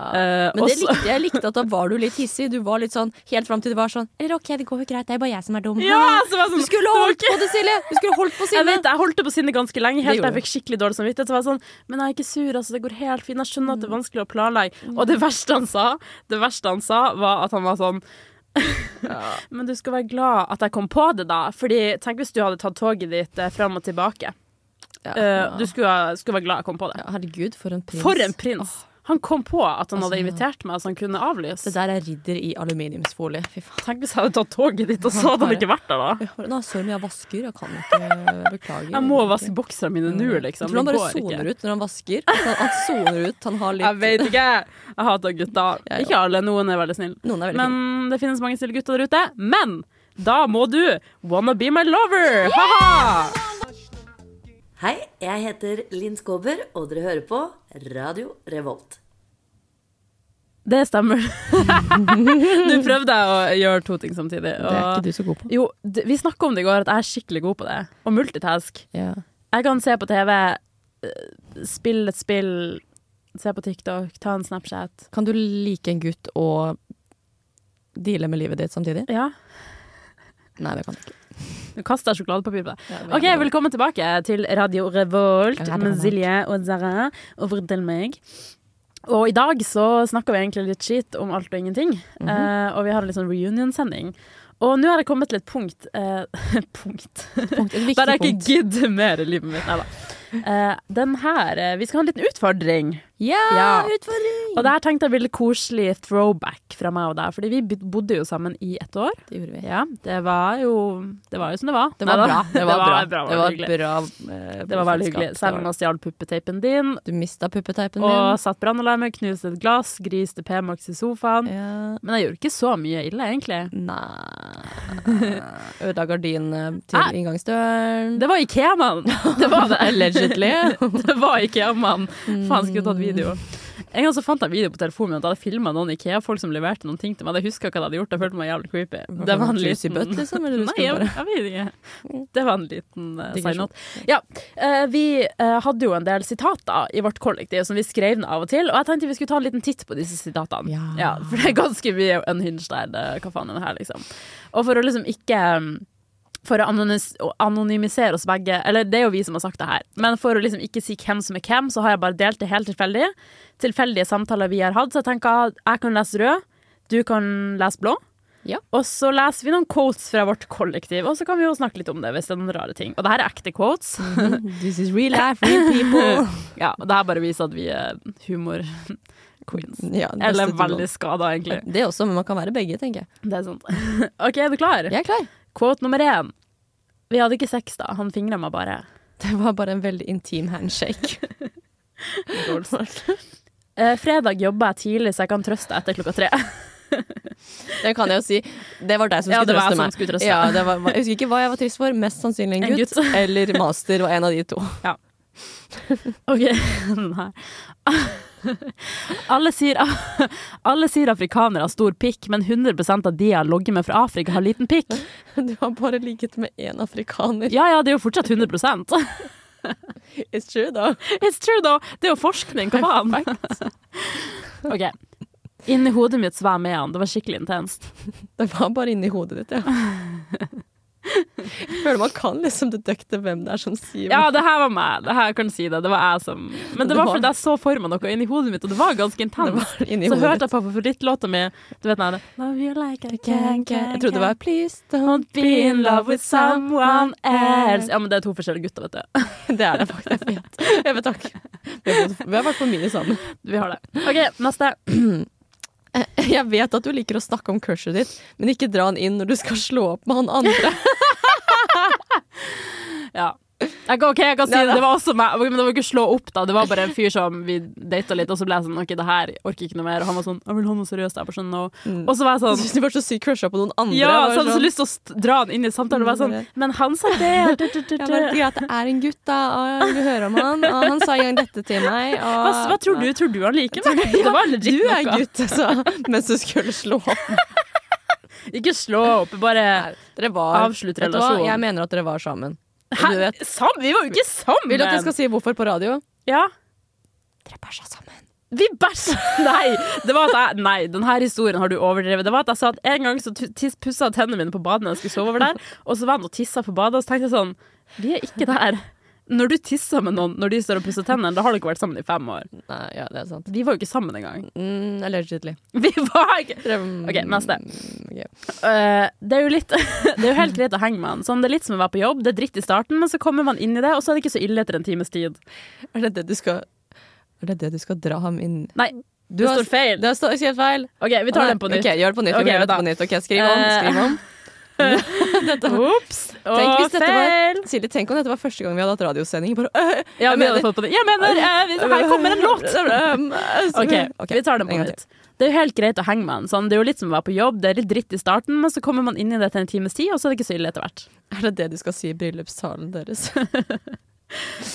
S2: Men
S4: og
S2: det
S4: så-
S2: likte, jeg likte at da var du litt hissig. Du var litt sånn helt fram til du var sånn Eller OK, det går jo greit, det er bare jeg som er dum.
S4: Ja, så var jeg sånn,
S2: du skulle
S4: det var
S2: holdt
S4: ikke-
S2: på det, Silje! Du skulle holdt på
S4: Jeg
S2: Silje!
S4: vet, det, jeg holdt det på sinnet ganske lenge, helt til
S2: gjorde
S4: jeg fikk skikkelig dårlig samvittighet. Så var jeg sånn, men jeg er ikke sur, altså, det går helt fint. Jeg skjønner at
S2: Mm.
S4: det er vanskelig å planlegge. Og det verste han sa, det verste han sa, var at han var sånn Men du skal være glad at jeg kom på det, da. Fordi tenk hvis du hadde tatt toget ditt eh, fram og tilbake. Eh, du skulle, ha- skulle være glad jeg kom på det.
S2: Ja, Herregud, for en prins.
S4: For en prins! Han kom på at han hadde invitert meg, så han kunne avlyse.
S2: Det der er ridder i aluminiumsfolie. Fy faen.
S4: Tenk hvis jeg hadde tatt toget ditt, og så hadde han ikke vært der, da.
S2: Nå, sorry, jeg vasker. Jeg kan ikke beklage.
S4: Jeg må vaske bokserne mine nå, liksom.
S2: Mm. Jeg tror han
S4: Det
S2: bare
S4: går ikke.
S2: soner ut når han vasker. Han, han soner ut. Han har
S4: Jeg
S2: litt
S4: vet ikke. Jeg hater gutter.
S2: Jeg
S4: Ikke alle, noen er veldig snille.
S2: Noen er veldig
S4: Men det finnes mange snille gutter der ute. Men da må du wanna be my lover! Ha-ha!
S8: Hei, jeg heter Linn Skåber, og dere hører på Radio Revolt.
S4: Det stemmer. Nå prøvde jeg å gjøre to ting samtidig. Og
S2: Det er ikke du så god på.
S4: Jo, d- vi snakka om det i går, at jeg er skikkelig god på det. Å multitask.
S2: Ja.
S4: Jeg kan se på TV, eh, spille et spill, se på TikTok, ta en Snapchat.
S2: Kan du like en gutt og deale med livet ditt samtidig?
S4: Ja.
S2: Nei, det kan du ikke.
S4: Nå kaster jeg sjokoladepapir på deg.
S2: det var
S4: ok,
S2: ikke dårlig.
S4: Velkommen tilbake til Radio Revolt
S2: Radio
S4: med
S2: Revolt.
S4: Silje og Zara og Vrudel meg. Og i dag så snakker vi egentlig litt skit om alt og ingenting.
S2: Mhm.
S4: eh, og vi har en litt sånn reunion-sending. Og nå har jeg kommet til et punkt eh, Punkt
S2: Punkt. Et
S4: der
S2: viktig
S4: jeg ikke
S2: punkt.
S4: gidder mer i livet mitt. Nei da. Eh, den her eh, Vi skal ha en liten utfordring.
S2: Ja,
S4: Ja.
S2: Ah, utfordring!
S4: Og der tenkte jeg ville koselig throwback fra meg og deg, fordi vi b- bodde jo sammen i et år.
S2: Det gjorde vi.
S4: Ja, det var jo, det var jo som det var.
S2: Det var
S4: Neida.
S2: bra. Det var, bra. Det var,
S4: hyggelig.
S2: bra eh,
S4: Det var veldig
S2: boligselskap.
S4: hyggelig.
S2: Det
S4: Selv
S2: var- Mm.
S4: om jeg stjal puppeteipen din,
S2: Du mista puppeteipen
S4: og
S2: min.
S4: satt brannalarmer, knuste et glass, griste P-Max i sofaen.
S2: Ja. Mm.
S4: Men jeg gjorde ikke så mye ille, egentlig.
S2: Nei Ødela gardinene til
S4: Nei.
S2: inngangsdøren.
S4: Det var Ikea-mann! Det var det, allegedly. Det var Ikea-mann. Faen, skulle
S2: Mm.
S4: tatt video. En gang så fant jeg en video på telefonen min at jeg hadde filma noen Ikea-folk som leverte noen ting til meg. Jeg husker ikke hva de hadde gjort, jeg følte meg jævlig creepy. Det var en
S2: Juicy
S4: liten
S2: butt, liksom? Eller du
S4: Nei,
S2: skulle
S4: jeg,
S2: bare
S4: jeg vet ikke. Det var en liten uh,
S2: Digresjon.
S4: sign-out. Ja, eh, vi eh, hadde jo en del sitater i vårt kollektiv som vi skrev ned av og til, og jeg tenkte vi skulle ta en liten titt på disse sitatene.
S2: Ja.
S4: for det er ganske mye unhinged der, det- hva faen er det her, liksom. Og for å liksom ikke um, for å anonymis- å anonymisere oss begge, eller det er jo vi som har sagt det her, men for å liksom ikke si hvem som er hvem, så har jeg bare delt det helt tilfeldig. Tilfeldige samtaler vi har hatt, så jeg tenker jeg kan lese rød, du kan lese blå.
S2: Ja.
S4: Og så leser vi noen quotes fra vårt kollektiv, og så kan vi jo snakke litt om det hvis det er noen rare ting. Og det her er ekte quotes.
S2: This is real life, real people.
S4: ja, og det her bare viser at vi er humor-queens.
S2: Ja, beste
S4: Eller
S2: duoen.
S4: veldig skada, egentlig.
S2: Det også, men man kan være begge, tenker jeg.
S4: Det er sant. OK, er du klar?
S2: Jeg er klar.
S4: Quote nummer én. Vi hadde ikke sex da, han fingra meg bare.
S2: Det var bare en veldig intim handshake.
S4: Eh, fredag jobba jeg tidlig, så jeg kan trøste etter klokka tre.
S2: Det kan jeg jo si. Det var deg som
S4: Ja,
S2: skulle
S4: det var jeg
S2: trøste
S4: som
S2: meg.
S4: skulle trøste.
S2: Ja, det var, jeg husker ikke hva jeg var trist for. Mest sannsynlig en
S4: En
S2: gutt,
S4: gutt.
S2: eller master var en av de to.
S4: OK. Nei. Alle sier, alle sier afrikanere har stor pikk, men 100 av de jeg logger med fra Afrika, har liten pikk.
S2: Du har bare ligget med én afrikaner.
S4: Ja ja, det er jo fortsatt 100
S2: It's true, da.
S4: It's true, though. Det er jo forskning, hva faen? OK. Inni hodet mitt så var jeg med han. Det var skikkelig intenst.
S2: Det var bare inni hodet ditt, ja. Jeg føler man kan liksom dedukte hvem det er som sier
S4: Ja, det her var meg. Det her jeg kan si det. Det var jeg som Men det var fordi jeg så for meg noe inni hodet mitt, og det var ganske
S2: det
S4: intenst.
S2: var inni
S4: Så
S2: hodet
S4: hørte jeg på favorittlåta mi. Du vet den der Love you like I can, can,
S2: Jeg trodde det var Please don't
S4: Don't be in love with someone else. Ja, men det er to forskjellige gutter, vet du.
S2: Det er det faktisk. Jeg vet, jeg vet takk. Vi har bodd- vi har vært for mye sammen.
S4: Vi har det. OK, neste.
S2: Jeg vet at du liker å snakke om crushet ditt, men ikke dra han inn når du skal slå opp med han andre.
S4: Ja. Jeg kan, ok, jeg kan si
S2: Nei,
S4: det.
S2: da.
S4: Det var også meg. Men det var ikke slå opp, da. Det var bare en fyr som vi data litt, og så ble jeg sånn OK, det her orker ikke noe mer. Og han var sånn Jeg vil ha noe seriøst. Jeg bare sånn no.
S2: Mm.
S4: Og så var jeg
S2: Jeg
S4: sånn
S2: synes du var så sykt crusha på noen andre.
S4: ja, sånn
S2: Jeg
S4: så
S2: var sånn-
S4: hadde jeg så lyst til å st- dra han inn i samtalen. Og være sånn, men han sa det. Du, du, du,
S2: Mm. Ja, men det
S4: du.
S2: er greit, det er en gutt, da. Og vil du høre om han? Og han sa en gang dette til meg. Og
S4: Hva, hva tror du? Tror du han liker meg? Det var legit
S2: Du er
S4: noe.
S2: gutt, altså. Mens du skulle slå opp.
S4: Ikke slå opp, bare
S2: Dere var
S4: Avslutt
S2: Vet du hva?
S4: relasjonen.
S2: Jeg mener at dere var sammen. Og
S4: Hæ?
S2: Du vet.
S4: Sam, vi var jo ikke sammen!
S2: Vil du at jeg skal si hvorfor på radio?
S4: Ja.
S2: Dere bæsja sammen.
S4: Vi bæsja Nei! Det var at jeg, nei, denne historien har du overdrevet. Det var at jeg sa at en gang så tu- tiss- pussa jeg tennene mine på badet når jeg skulle sove over der, og så var han og tissa på badet, og så tenkte jeg sånn Vi er ikke der. Når du tisser med noen når de står og pusser tennene, da har du ikke vært sammen i fem år.
S2: Nei, ja, det er sant.
S4: Vi var jo ikke sammen engang.
S2: Mm, allegedly.
S4: Vi var ikke
S2: Dere,
S4: OK, neste.
S2: ok.
S4: Eh, det er jo litt Det er jo helt greit å henge med han. Sånn, det er litt som å være på jobb. Det er dritt i starten, men så kommer man inn i det, og så er det ikke så ille etter en times tid.
S2: Er det det du skal Er det det du skal dra ham inn
S4: Nei,
S2: Du
S4: det
S2: har-
S4: står feil.
S2: Det står skrevet feil.
S4: OK, vi tar den på nytt.
S2: Ok, gjør det på nytt.
S4: Ok,
S2: vi gjør det
S4: da.
S2: på nytt. Ok, skriv om.
S4: Eh.
S2: Skriv om.
S4: Ops!
S2: Tenk
S4: Og
S2: hvis dette var,
S4: feil!
S2: Silje, tenk om dette var første gang vi hadde hatt radiosending. Bare, øh,
S4: Ja, vi hadde fått på det. Jeg mener, eh, hvis- her kommer en låt! Mm, OK, vi tar den på
S2: en gang til.
S4: nytt. Det er jo helt greit å henge med en sånn. Det er jo litt som å være på jobb. Det er litt dritt i starten, men så kommer man inn i det etter en times tid, og så er det ikke så ille etter hvert.
S2: Er det det du skal si i bryllupstalen deres?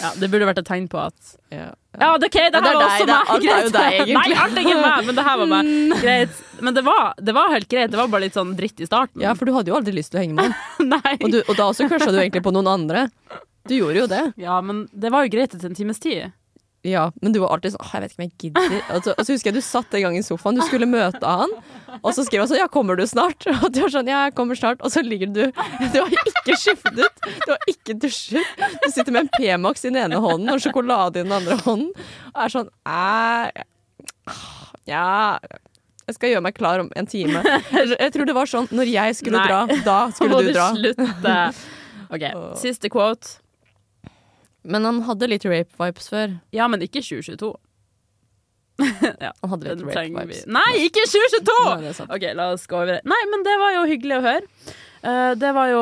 S4: Ja, det burde vært et tegn på at
S2: ja.
S4: Ja, det, ok, det
S2: det
S4: her
S2: er
S4: var
S2: deg,
S4: også
S2: det
S4: meg!
S2: er- alt er jo
S4: Greit.
S2: deg, egentlig. Mm.
S4: Nei, alt er ikke meg, men det her var meg. Greit. Men det var, det var helt greit. Det var bare litt sånn dritt i starten.
S2: ja, for du hadde jo aldri lyst til å henge med han.
S4: Nei.
S2: Og, du- og da også crusha du egentlig på noen andre. Du gjorde jo det.
S4: Ja, men det var jo greit etter en times tid.
S2: Ja, men du var alltid sånn «Åh, Jeg vet ikke om jeg gidder. Og så, og så husker jeg du satt en gang i sofaen, du skulle møte han, og så skrev han sånn Ja, kommer du snart? Og du var sånn Ja, jeg kommer snart. Og så ligger du Du har ikke skiftet, du har ikke dusjet. Du sitter med en P-Max i den ene hånden og sjokolade i den andre hånden og er sånn Æ, ja Jeg skal gjøre meg klar om en time. Jeg tror det var sånn når jeg skulle
S4: Nei.
S2: dra, da skulle
S4: Må
S2: du dra.
S4: slutte? OK, siste quote.
S2: Men han hadde litt rape vibes før.
S4: Ja, men ikke 2022. Ja,
S2: Han hadde litt
S4: Den
S2: rape
S4: trenger vi.
S2: vibes.
S4: Nei, ikke
S2: Nei, det er
S4: 2022!
S2: sant.
S4: Ok, la oss gå over det. Nei, men det var jo hyggelig å høre. Eh, det var jo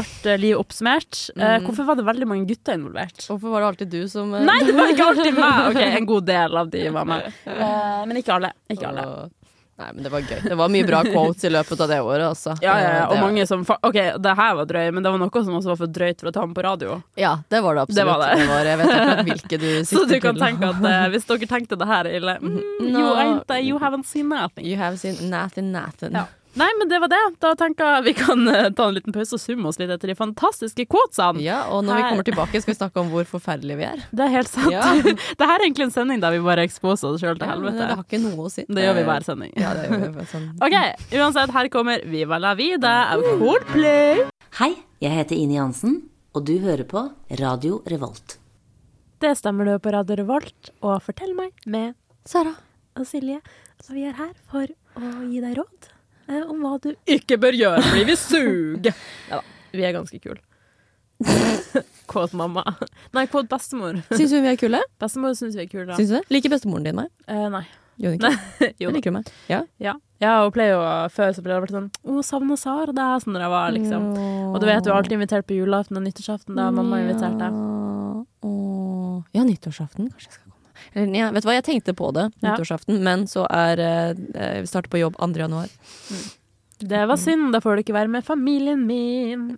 S4: vårt eh, liv oppsummert. Eh, hvorfor var det veldig mange gutter involvert?
S2: Hvorfor var det alltid du som eh,
S4: Nei, det var ikke alltid meg! Ok, En god del av de var med. Eh, men ikke alle. Ikke alle.
S2: og- Nei, men det var gøy. Det var mye bra quotes i løpet av det året, altså.
S4: Ja, ja, ja.
S2: Det-
S4: Og mange som fa OK, det her var drøy, men det var noe som også var for drøyt for å ta med på radio.
S2: Ja, det var det absolutt.
S4: Det var det.
S2: var- jeg vet ikke hvilke du sikter
S4: Så du kan
S2: til.
S4: tenke at eh, hvis dere tenkte det her er ille mm, you,
S2: No.
S4: ain't, eh, you haven't seen nothing.
S2: You have seen Nathan Nathan.
S4: Ja. Nei, men det var det. Da tenker jeg vi kan eh, ta en liten pause og summe oss litt etter de fantastiske quotesene.
S2: Ja, og når vi
S4: Her.
S2: kommer tilbake, skal vi snakke om hvor forferdelige vi er.
S4: Det er helt sant.
S2: Ja.
S4: det her er egentlig en sending der vi bare eksposer oss sjøl til
S2: Ja, men det har
S4: helvete.
S2: ikke noe å si.
S4: Det gjør vi hver sending.
S2: Ja, det gjør vi. Sånn.
S4: OK, uansett, her kommer Viva la vida av Coldplay.
S8: Hei, jeg heter Ine Jansen, og du hører på Radio Revolt.
S4: Det stemmer du på Radio Revolt, og Fortell meg med Sara og Silje. Og vi er her for å gi deg råd om hva du ikke bør gjøre, fordi vi suger. Ja da, vi er ganske kule. Kåt mamma. Nei, kåt bestemor.
S2: Syns hun vi er kule?
S4: Bestemor syns vi er kule.
S2: Syns du det? Liker bestemoren din meg?
S4: Eh, nei.
S2: Gjør hun ikke?
S4: Jo
S2: Hun
S4: da.
S2: liker meg. Ja.
S4: Ja. ja, og pleier jo før så ble det vært sånn Å, savner Sara deg, sånn da jeg var, liksom.
S2: Mm.
S4: Og du vet, du er alltid invitert på julaften og nyttårsaften, da mamma inviterte deg.
S2: Åh. Ja, nyttårsaften kanskje jeg skal komme. Eller, ja, vet du hva, jeg tenkte på det
S4: Ja.
S2: nyttårsaften, men så er eh, Vi starter på jobb 2. januar.
S4: Det
S2: Mm.
S4: var synd, da får du ikke være med familien min.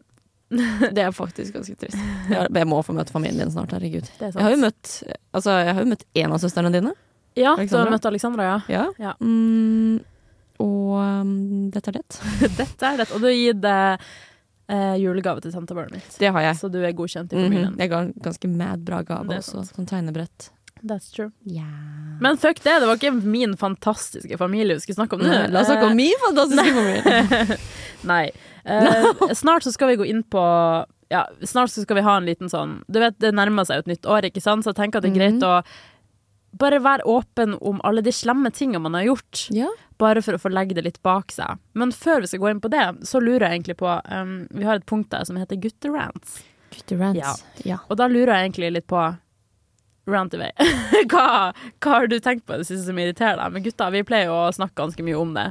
S2: Det er faktisk ganske trist. Jeg, jeg må få møte familien din snart, herregud.
S4: Det er sant.
S2: Jeg har jo møtt Altså, jeg har jo møtt én av søstrene dine.
S4: Ja, du
S2: Alexandra?
S4: har møtt Alexandra, ja.
S2: Ja.
S4: Ja.
S2: Mm, og um, dette er det.
S4: Dette er dette. Og du har gitt eh, julegave til tantebarnet mitt.
S2: Det har jeg.
S4: Så du er godkjent i
S2: Mhm.
S4: familien.
S2: Jeg ga en ganske mad bra gave
S4: Det er
S2: også. Sånn tegnebrett.
S4: That's true.
S2: Ja.
S4: Men fuck det, det var ikke min fantastiske familie vi skulle snakke om nå.
S2: Nei, La oss snakke om min fantastiske familie.
S4: Eh, Nei. Eh, snart så skal vi gå inn på ja, Snart så skal vi ha en liten sånn Du vet, det nærmer seg jo et nytt år, ikke sant? Så jeg tenker at det er
S2: Mhm.
S4: greit å bare være åpen om alle de slemme tingene man har gjort.
S2: Ja.
S4: bare for å få legge det litt bak seg. Men før vi skal gå inn på det, så lurer jeg egentlig på um, Vi har et punkt der som heter gutterants.
S2: Gutterants.
S4: Ja.
S2: Ja.
S4: Og da lurer jeg egentlig litt på Rant away. hva, hva har du tenkt på i det siste som irriterer deg? Men gutta, vi pleier jo å snakke ganske mye om det.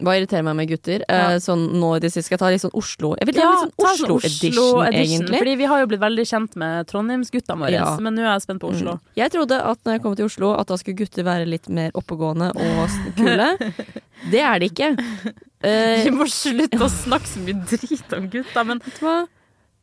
S2: Hva irriterer meg med gutter? Eh, sånn nå i det siste skal jeg ta litt sånn Oslo Jeg vil ta litt
S4: ta en
S2: sånn Oslo-edition,
S4: Oslo-edition,
S2: egentlig.
S4: Fordi vi har jo blitt veldig kjent med Trondheimsgutta våre,
S2: Ja. Mm.
S4: men nå er jeg spent på Oslo.
S2: Jeg trodde at når jeg kom til Oslo, at da skulle gutter være litt mer oppegående og s- kule. Det er de ikke. Eh,
S4: Vi må slutte å snakke så mye drit om gutta, men
S2: vet du hva?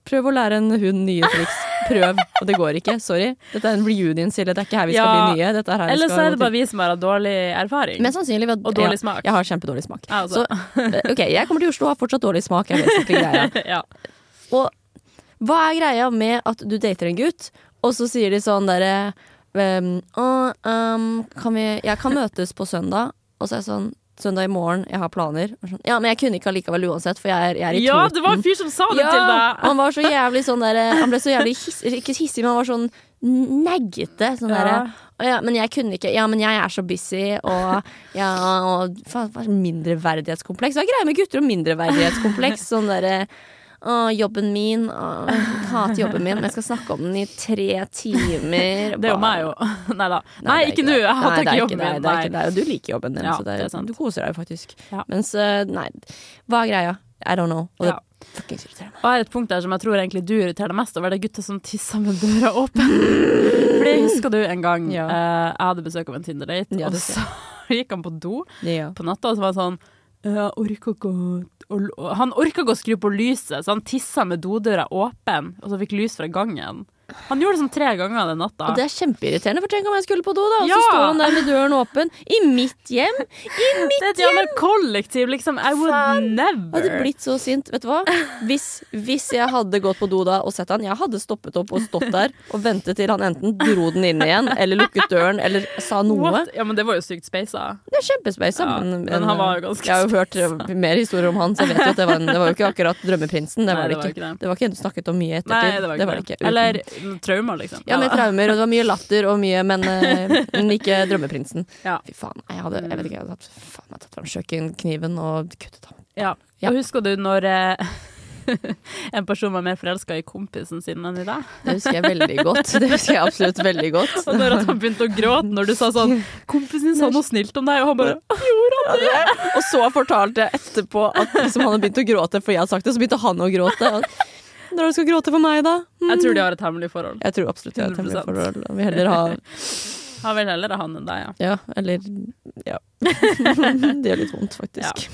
S2: Prøv å lære en hund nye triks. Prøv. Og det går ikke. Sorry. Dette er en reunion, Silje. Det er ikke her vi skal
S4: Ja.
S2: bli nye. Dette er her vi
S4: Ellers
S2: skal
S4: er det bare vi som har hatt dårlig erfaring.
S2: Mest sannsynlig ved-
S4: Og dårlig
S2: ja,
S4: smak.
S2: Jeg har kjempedårlig smak.
S4: Ja, altså.
S2: Så, eh, ok, jeg kommer til Oslo og har fortsatt dårlig smak. Jeg vet ikke greia.
S4: ja.
S2: Og hva er greia med at du dater en gutt, og så sier de sånn derre ehm, «Å, ehm, kan vi, Jeg kan møtes på søndag, og så er jeg sånn Søndag i morgen, jeg har planer. Og Sånn, ja, men jeg kunne ikke allikevel uansett, for jeg er, jeg er i
S4: ja,
S2: Toten.
S4: det var en fyr som sa det
S2: Ja,
S4: til deg.
S2: Han var så jævlig sånn der Han ble så jævlig hiss, ikke hissig, men han var sånn neggete. Sånn
S4: Ja.
S2: derre «Å ja, men jeg kunne ikke Ja, men jeg er så busy, og, ja, og faen, hva er mindreverdighetskompleks. Hva er greia med gutter og mindreverdighetskompleks? Sånn derre å, jobben min. Å, jeg hater jobben min, men jeg skal snakke om den i tre timer.
S4: Det er jo
S2: Bare-
S4: meg, jo. Nei da. Nei,
S2: det er
S4: ikke nå. Jeg
S2: det.
S4: hater
S2: Nei, det er
S4: ikke jobben
S2: det,
S4: min.
S2: det er
S4: Nei.
S2: ikke det. Og du liker jobben din,
S4: Ja,
S2: så det er,
S4: det er sant.
S2: du koser deg jo faktisk.
S4: Ja.
S2: Mens eh, nei, hva er greia? I don't know. Og det
S4: Ja.
S2: fuckings irriterer meg.
S4: Og her er et punkt der som jeg tror egentlig du irriterer deg mest over, det er gutter som tisser med døra åpen. Fordi husker du en gang
S2: Ja.
S4: eh, jeg hadde besøk av en Tinder-date,
S2: Ja,
S4: og
S2: det
S4: så
S2: husker
S4: gikk han på do
S2: Ja.
S4: på natta, og så var han sånn jeg orker ikke å- å l- Han orka ikke å skru på lyset, så han tissa med dodøra åpen, og så fikk lys fra gangen. Han gjorde det sånn tre ganger den natta.
S2: Og det er kjempeirriterende, for tenk om jeg skulle på do, da, og
S4: Ja!
S2: så står han der med døren åpen i mitt hjem. I
S4: Det
S2: mitt
S4: er et jævla kollektiv, liksom. I would never.
S2: Jeg hadde blitt så sint, vet du hva? Hvis, hvis jeg hadde gått på do da og sett han, jeg hadde stoppet opp og stått der og ventet til han enten dro den inn igjen, eller lukket døren, eller sa noe.
S4: What? Ja, men det var jo sykt speisa.
S2: Det er kjempespeisa.
S4: Ja, men han var jo ganske
S2: Jeg har jo hørt eh, mer historier om han, så jeg vet jo at det var, en, det var jo ikke akkurat drømmeprinsen. Det
S4: Nei,
S2: var det
S4: det var
S2: ikke.
S4: ikke det.
S2: Det var ikke en du snakket om mye i ettertid.
S4: Nei, det var ikke det.
S2: Uten-
S4: Eller traumer, liksom.
S2: ja, med
S4: da.
S2: traumer, og det var mye latter og mye, men, eh, men ikke drømmeprinsen.
S4: Ja.
S2: Fy faen, jeg hadde, jeg vet ikke, jeg hadde tatt, faen, jeg hadde tatt fram kjøkkenkniven og kuttet ham.
S4: ja.
S2: Ja.
S4: Og husker du når eh, En person var mer forelska i kompisen sin enn i deg.
S5: Det husker jeg veldig godt. Det husker jeg absolutt veldig godt.
S4: Og når at han begynte å gråte når du sa sånn 'Kompisen din sa noe snilt om deg', og han bare
S2: Og så fortalte jeg etterpå at liksom, han hadde begynt å gråte fordi jeg hadde sagt det. Så begynte han å gråte. Og, Når er det du skal gråte for meg, da? Mm.
S4: Jeg tror de har et hemmelig forhold.
S2: Jeg tror absolutt jeg har et hemmelig
S4: 100%.
S2: forhold. Jeg vil heller ha
S4: Han vil heller ha han enn deg, ja.
S2: Ja, eller Ja. Det gjør litt vondt, faktisk.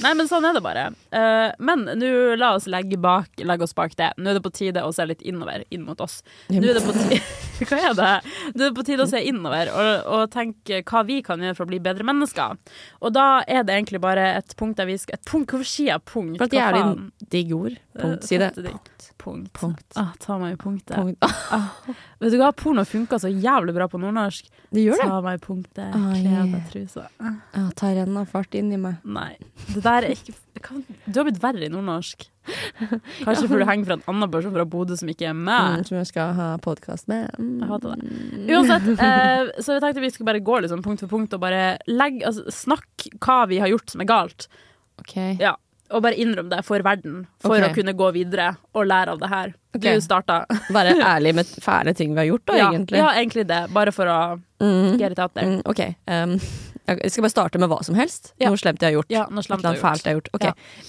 S4: Nei, men sånn er det bare. Eh, men nå la oss legge, bak, legge oss bak det. Nå er det på tide å se litt innover, inn mot oss. Nå er det på tide, hva er det? Nå er det på tide å se innover og, og tenke hva vi kan gjøre for å bli bedre mennesker. Og da er det egentlig bare et punkt der vi skal Et punkt, hvorfor sier jeg punkt?
S2: For at
S4: Hva
S2: jævlig
S4: faen?
S2: digg ord. Punkt, si det.
S4: Eh, Punkt. Punkt.
S2: Punkt.
S4: Ah, ta meg i punktet. Ah.
S2: Punkt.
S4: Vet du hva, porno funker så jævlig bra på nordnorsk.
S2: Det gjør det.
S4: Ta meg i punktet,
S2: Ah,
S4: kle
S2: yeah.
S4: av deg trusa.
S2: Ja, ta renn av fart inn i meg.
S4: Nei. Det der er ikke kan, Du har blitt verre i nordnorsk. Kanskje fordi du henger fra en annen person fra Bodø som ikke er
S2: Mm,
S4: meg.
S2: som jeg skal ha podkast med. Mm.
S4: Jeg hater det. Uansett, eh, så jeg tenkte vi skulle bare gå liksom punkt for punkt og bare legge, altså, snakke hva vi har gjort som er galt.
S5: Ok.
S4: Ja. Og bare innrømme det for verden, for
S5: Ok.
S4: å kunne gå videre og lære av det her.
S5: Ok.
S4: Du starta.
S2: Være ærlig med fæle ting vi har gjort, da,
S4: ja,
S2: egentlig.
S4: Ja, egentlig det. Bare for å
S2: Mm.
S4: get it out there.
S2: Mm, ok. Um, jeg skal bare starte med hva som helst.
S4: Ja.
S2: Noe slemt jeg har gjort.
S4: Ja, noe slemt
S2: Et eller annet
S4: jeg har
S2: fælt jeg har gjort. Ok.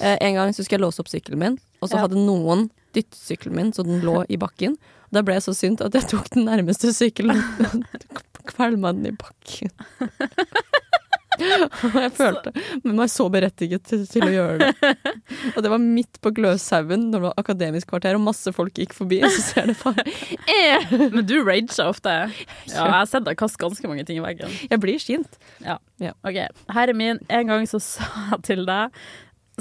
S2: Eh, en gang så skulle jeg låse opp sykkelen min, og så
S4: Ja.
S2: hadde noen dyttet sykkelen min så den lå i bakken. Da ble jeg så sint at jeg tok den nærmeste sykkelen og kvelma den i bakken. Og jeg følte meg så berettiget til, til å gjøre det. Og det var midt på Gløshaugen, når det var akademisk kvarter og masse folk gikk forbi. Så ser det bare eh!
S4: Men du rager ofte. Ja, jeg har sett deg kaste ganske mange ting i veggen.
S2: Jeg blir sint.
S4: Ok, her er min. En gang så sa jeg til deg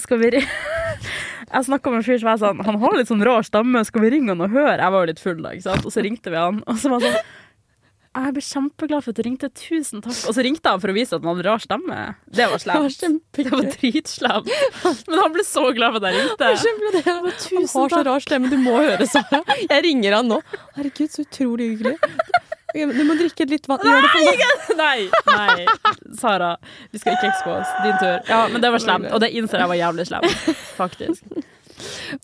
S4: Skal vi ri- Jeg snakka med en fyr som var sånn Han har litt sånn rar stemme, skal vi ringe han og høre? Jeg var jo litt full da, ikke sant? Og så ringte vi han, og så var han sånn jeg ble kjempeglad for at du ringte. Tusen takk. Og så ringte han for å vise at han hadde rar stemme. Det var
S2: Det var
S4: slemt. Det
S2: kjempegøy.
S4: var dritslemt. Men han ble så glad for at jeg ringte.
S2: Kjempeglad. Han har så rar stemme, du må høre Sara. Jeg ringer han nå. Herregud, så utrolig hyggelig. Ok, men Du må drikke litt vann. Gjør det for meg.
S4: Nei, nei, Sara. Vi skal ikke expose. Din tur. Ja, men det var slemt, og det innser jeg var jævlig slemt, faktisk.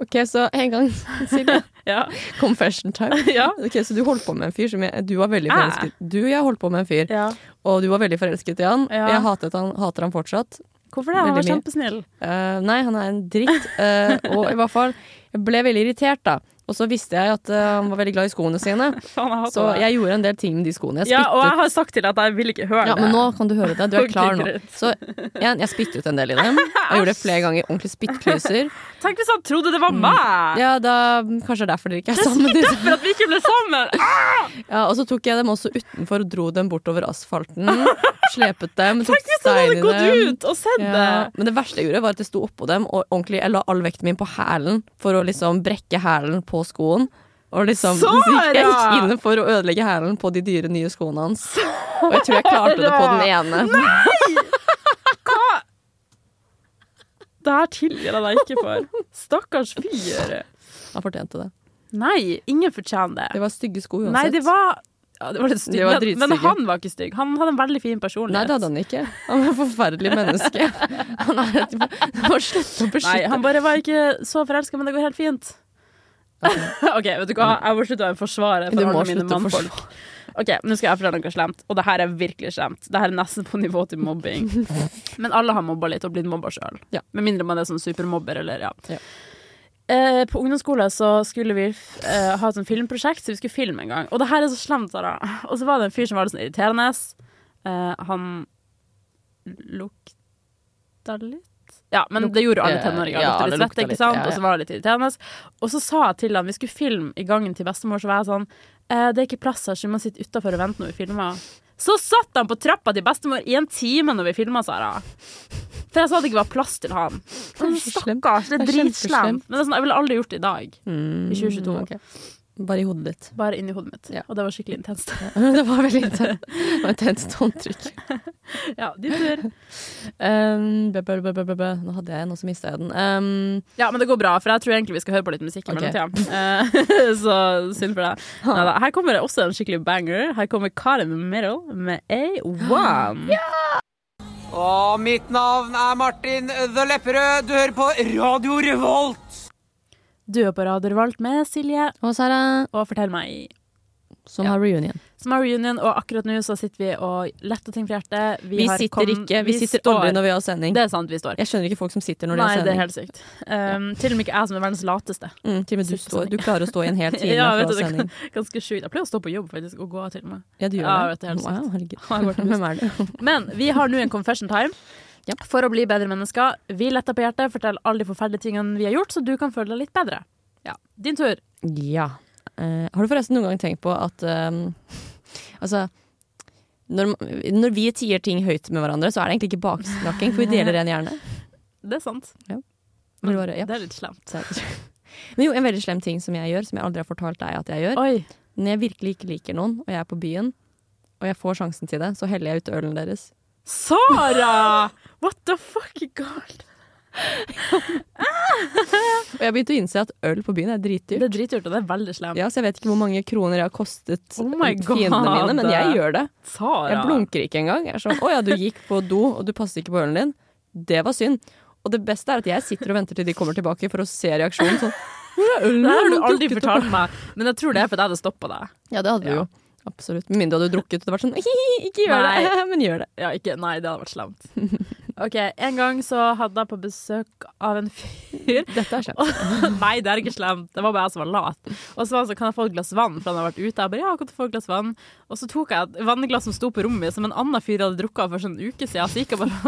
S2: Ok, så en gang, Silje.
S4: Ja.
S2: Confession time.
S4: Ja.
S2: Ok, Så du holdt på med en fyr som jeg, du var veldig forelsket Du og jeg holdt på med en fyr,
S4: ja.
S2: og du var veldig forelsket i han.
S4: Ja.
S2: Jeg hatet han, hater han fortsatt.
S4: Hvorfor det? Han
S2: Veldig
S4: var
S2: mye.
S4: kjempesnill.
S2: Eh, nei, han er en dritt. eh, og i hvert fall, jeg ble veldig irritert, da. Og så visste jeg at eh, han var veldig glad i skoene sine,
S4: Faen, jeg hater
S2: så
S4: det.
S2: jeg gjorde en del ting med de skoene. Jeg
S4: ja, og
S2: spyttet
S4: jeg har sagt til deg at jeg vil ikke høre
S2: Ja,
S4: det.
S2: men nå kan du høre det. Du er
S4: Ok,
S2: klar nå.
S4: greit.
S2: Så jeg, jeg spyttet ut en del i dem. Jeg gjorde det flere ganger. Ordentlig spyttklyser.
S4: Tenk hvis han trodde det var
S2: Mm.
S4: meg!
S2: Ja, da Kanskje det er derfor dere ikke er sammen.
S4: For at vi ikke ble sammen! Ah,
S2: Ja, og så tok jeg dem også utenfor og dro dem bortover asfalten. Slepet dem, tok
S4: Hvis han
S2: stein
S4: hadde
S2: i
S4: gått
S2: dem.
S4: ut og sett
S2: Ja,
S4: det!
S2: men det verste jeg gjorde, var at jeg sto oppå dem og ordentlig, jeg la all vekten min på hælen for å liksom brekke hælen på skoen. Og liksom,
S4: Sara!
S2: Jeg gikk inne for å ødelegge hælen på de dyre nye skoene hans. Og jeg tror jeg klarte det på den ene.
S4: Det her tilgir jeg deg ikke for. Stakkars fyr.
S2: Han fortjente det.
S4: Nei, ingen fortjener det.
S2: Det var stygge sko uansett.
S4: Nei, det var ja, det var litt stygg,
S2: Det var
S4: men- men
S2: dritstygge.
S4: han var ikke stygg. Han hadde en veldig fin
S2: Nei,
S4: personlighet.
S2: det hadde han ikke. Han var et forferdelig menneske. Han er et Du må slutte å
S4: Nei,
S2: beskytte
S4: han bare var ikke så forelska, men det går helt fint. OK, vet du hva, jeg må slutte å være en forsvarer
S2: Du
S4: for
S2: må
S4: alle mine
S2: slutte å
S4: mannfolk. OK, nå skal jeg fortelle noe slemt, og det her er virkelig slemt. Det her er nesten på nivå til mobbing. Men alle har mobba litt og blitt mobba sjøl.
S2: Ja.
S4: Med mindre man er sånn supermobber, eller ja.
S2: Ja.
S4: Eh, på ungdomsskolen så skulle vi f- eh, ha et sånt filmprosjekt, så vi skulle filme en gang. Og det her er så slemt, Sara. Og så var det en fyr som var litt sånn irriterende. Eh, han lukta litt Ja, men det gjorde alle tenåringer.
S2: Ja,
S4: Lukta
S2: alle
S4: litt svette,
S2: lukta litt,
S4: ikke sant?
S2: ja, ja.
S4: Og så var det litt irriterende. Og så sa jeg til han vi skulle filme i gangen til bestemor, så var jeg sånn eh, Det er ikke plass her, så vi må sitte utafor og vente når vi filmer. Så satt han på trappa til bestemor i en time når vi filma, Sara. For jeg sa det ikke var plass til han. Sånn, Stakkars, det er
S2: Det er
S4: dritslemt.
S2: kjempeslemt.
S4: Men det er sånn, jeg ville aldri gjort det i dag. I 2022.
S2: Bare i hodet ditt.
S4: Bare inni hodet mitt.
S2: Ja.
S4: Og det var skikkelig intenst.
S2: Det var veldig intenst. Det var intenst håndtrykk.
S4: ja, din tur.
S2: Um, bæ, bæ, bæ, bæ, bæ, bæ. Nå hadde jeg en, og så mista jeg den. Um,
S4: Ja, men det går bra, for jeg tror egentlig vi skal høre på litt musikk i
S2: Ok.
S4: mellomtida. Eh, Så synd for deg. Neida, Her kommer det også en skikkelig banger. Her kommer Caught in the Middle med A1.
S9: Og mitt navn er Martin The Lepperød. Du hører på Radio Revolt.
S4: Du er på Radio Revolt med Silje
S5: Og Sara,
S4: og Fortell meg.
S5: som har reunion.
S4: Som har reunion, og akkurat nå så sitter vi og letter ting fra hjertet.
S2: Vi
S4: har
S2: sitter
S4: kom-
S2: ikke, vi sitter
S4: står.
S2: aldri når vi har sending.
S4: Det er sant, vi står.
S2: Jeg skjønner ikke folk som sitter når de
S4: Nei,
S2: har
S4: det er
S2: sending.
S4: helt sykt. Um, Til og med ikke jeg som er verdens lateste.
S2: Mm, til og med du
S4: Sitter
S2: står.
S4: sånn.
S2: Du klarer å stå i en hel time
S4: Ja,
S2: for
S4: vet
S2: å
S4: du,
S2: ha
S4: det
S2: sending.
S4: er ganske sjukt. Jeg pleier å stå på jobb faktisk og gå av til og med.
S2: Ja, du gjør
S4: Ja,
S2: det.
S4: vet du, helt
S2: wow,
S4: Jeg går
S2: herregud.
S4: til
S2: Hvem er det?
S4: Men vi har nå en confession time.
S2: Ja.
S4: For å bli bedre mennesker. Vi letter på hjertet, forteller alle de forferdelige tingene vi har gjort, så du kan føle deg litt bedre. Ja. Din tur.
S2: Ja. Eh, har du forresten noen gang tenkt på at eh, Altså når, når vi tier ting høyt med hverandre, så er det egentlig ikke baksnakking, for vi deler en hjerne.
S4: Det er sant.
S2: Men bare, ja.
S4: Det er litt slemt.
S2: Så- Men jo, en veldig slem ting som jeg gjør, som jeg aldri har fortalt deg at jeg gjør.
S4: Oi.
S2: Når jeg virkelig ikke liker noen, og jeg er på byen, og jeg får sjansen til det, så heller jeg ut ølen deres.
S4: Sara! What the fuck, God?
S2: Og jeg begynte å innse at øl på byen er
S4: Det
S2: dritdyrt.
S4: er dritdyrt, og det er veldig slemt.
S2: Ja, så jeg vet ikke hvor mange kroner jeg har kostet
S4: Oh my
S2: fiendene
S4: God.
S2: mine, men jeg gjør det.
S4: Sara.
S2: Jeg blunker ikke engang. Jeg er sånn 'Å ja, du gikk på do, og du passet ikke på ølen din'. Det var synd. Og det beste er at jeg sitter og venter til de kommer tilbake for å se reaksjonen. Sånn, Hvor er ølen?
S4: Det har du
S2: Den
S4: aldri
S2: dukket opp
S4: fortalt meg, men jeg tror det er fordi jeg hadde stoppa deg.
S2: Ja, det hadde du jo. Absolutt. Med mindre du hadde drukket og det vært sånn «Hihi, Ikke gjør det, men gjør det.
S4: Ja, ikke, nei, det hadde vært slemt. OK, en gang så hadde jeg på besøk av en fyr
S2: Dette er slemt.
S4: Nei, det er ikke slemt. Det var bare jeg som var lat. Og så var han sånn, kan jeg få et glass vann? For han har vært ute. Jeg bare, ja, kan du få et glass vann? Og så tok jeg et vannglass som sto på rommet mitt, som en annen fyr hadde drukket av for sånn en uke siden. Så gikk jeg bare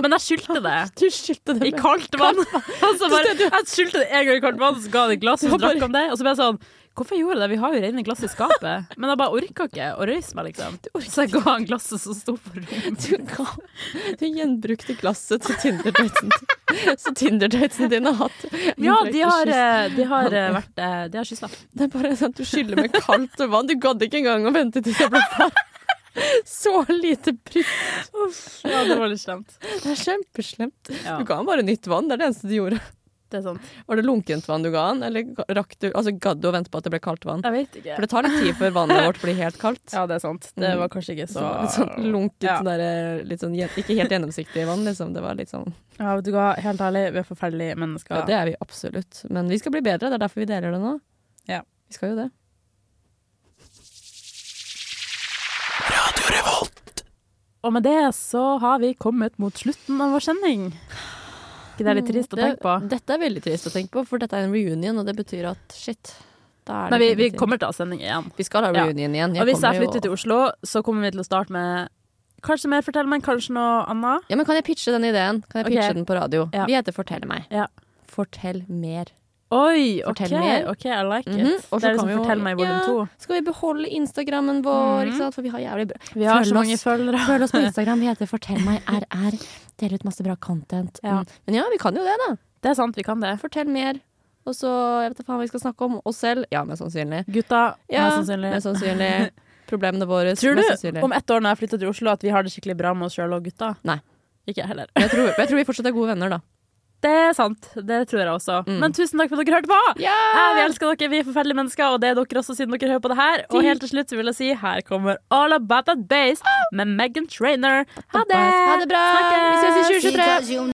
S4: Men jeg skyldte det.
S2: Du skyldte
S4: I
S2: det.
S4: kaldt vann. Og så bare, jeg skyldte det en gang i kaldt vann, så ga han et glass og så drakk han det. Og så ble jeg sånn Hvorfor gjorde jeg det? Vi har jo rene glass i skapet. Men jeg bare orka ikke å røyse meg, liksom. Så jeg ga han glasset som sto på rommet.
S2: Du, ga- du gjenbrukte glasset til Tinder-datesen din. Så Tinder-datesen din har hatt
S4: Ja, de har, eh, de har eh, vært eh, De har kyssa.
S2: Det er bare sånn at du skyller med kaldt vann. Du gadd ikke engang å vente til jeg ble ferdig. Så lite brytt.
S4: Ja, det var litt slemt.
S2: Det er kjempeslemt.
S4: Ja,
S2: Du ga han bare nytt vann. Det er det eneste du gjorde.
S4: det er sant.
S2: Var det lunkent vann du ga han, eller rakk du Altså gadd du å vente på at det ble kaldt vann?
S4: Jeg vet ikke.
S2: For det tar litt tid før vannet vårt blir helt kaldt.
S4: Ja, det er sant. Det var kanskje ikke
S2: Så
S4: så
S2: Mm. det var litt sånn lunket,
S4: Ja.
S2: sånn der, litt sånn, gjen- ikke helt gjennomsiktig vann, liksom. Det var litt sånn
S4: Ja, vet du hva, helt ærlig, vi er forferdelige mennesker.
S2: Ja, det er vi absolutt. Men vi skal bli bedre, det er derfor vi deler det nå.
S4: Ja.
S2: Vi skal jo det.
S4: Og med det så har vi kommet mot slutten av vår sending. Ikke det er litt trist å
S2: Mm, Det-
S4: tenke på?
S2: Dette er veldig trist å tenke på, for dette er en reunion, og det betyr at shit. Da er
S4: Nei, vi,
S2: det
S4: vi
S2: ingenting.
S4: kommer til å ha sending igjen.
S2: Vi skal ha
S4: Ja.
S2: reunion igjen.
S4: Og hvis jeg
S2: kommer jo-
S4: flytter til Oslo, så kommer vi til å starte med Kanskje mer fortell meg, kanskje noe annet.
S2: Ja, men Kan jeg pitche den ideen? Kan jeg
S4: Ok.
S2: pitche den på radio?
S4: Ja.
S2: Vi heter Fortell meg.
S4: Ja.
S2: Fortell mer.
S4: Oi, ok,
S2: Fortell mer.
S4: ok, I like it.
S2: Mhm. Og så
S4: Det er
S2: kan
S4: liksom
S2: vi jo-
S4: fortell meg i volum
S2: Ja.
S4: to. Mhm.
S2: Skal vi beholde Instagrammen vår? Ikke sant? For vi har jævlig bra
S4: Vi har
S2: Følg
S4: så mange
S2: oss.
S4: følgere.
S2: Følg oss på Instagram. Vi heter Fortell meg RR. Deler ut masse bra content.
S4: Ja.
S2: Mm. Men ja, vi kan jo det, da.
S4: Det er sant, vi kan det.
S2: Fortell mer. Og så Jeg vet da faen hva vi skal snakke om. Oss selv. Ja, mest sannsynlig.
S4: Gutta,
S2: Ja,
S4: mest sannsynlig.
S2: Mest sannsynlig. Problemene våre.
S4: Tror
S2: mest
S4: du
S2: sannsynlig.
S4: om ett år når jeg flytter til Oslo, at vi har det skikkelig bra med oss sjøl og gutta?
S2: Nei.
S4: Ikke jeg heller.
S2: Men jeg, tror, men jeg tror vi fortsatt er gode venner, da.
S4: Det er sant. Det tror jeg også. Men tusen takk for at dere hørte på! Eh, Vi elsker dere, vi er forferdelige mennesker, og det er dere også siden dere hører på det her. Og helt til slutt så vil jeg si her kommer All About That Base med Megan Trainer. Ha det!
S2: Ha det bra! Vi ses i 2023!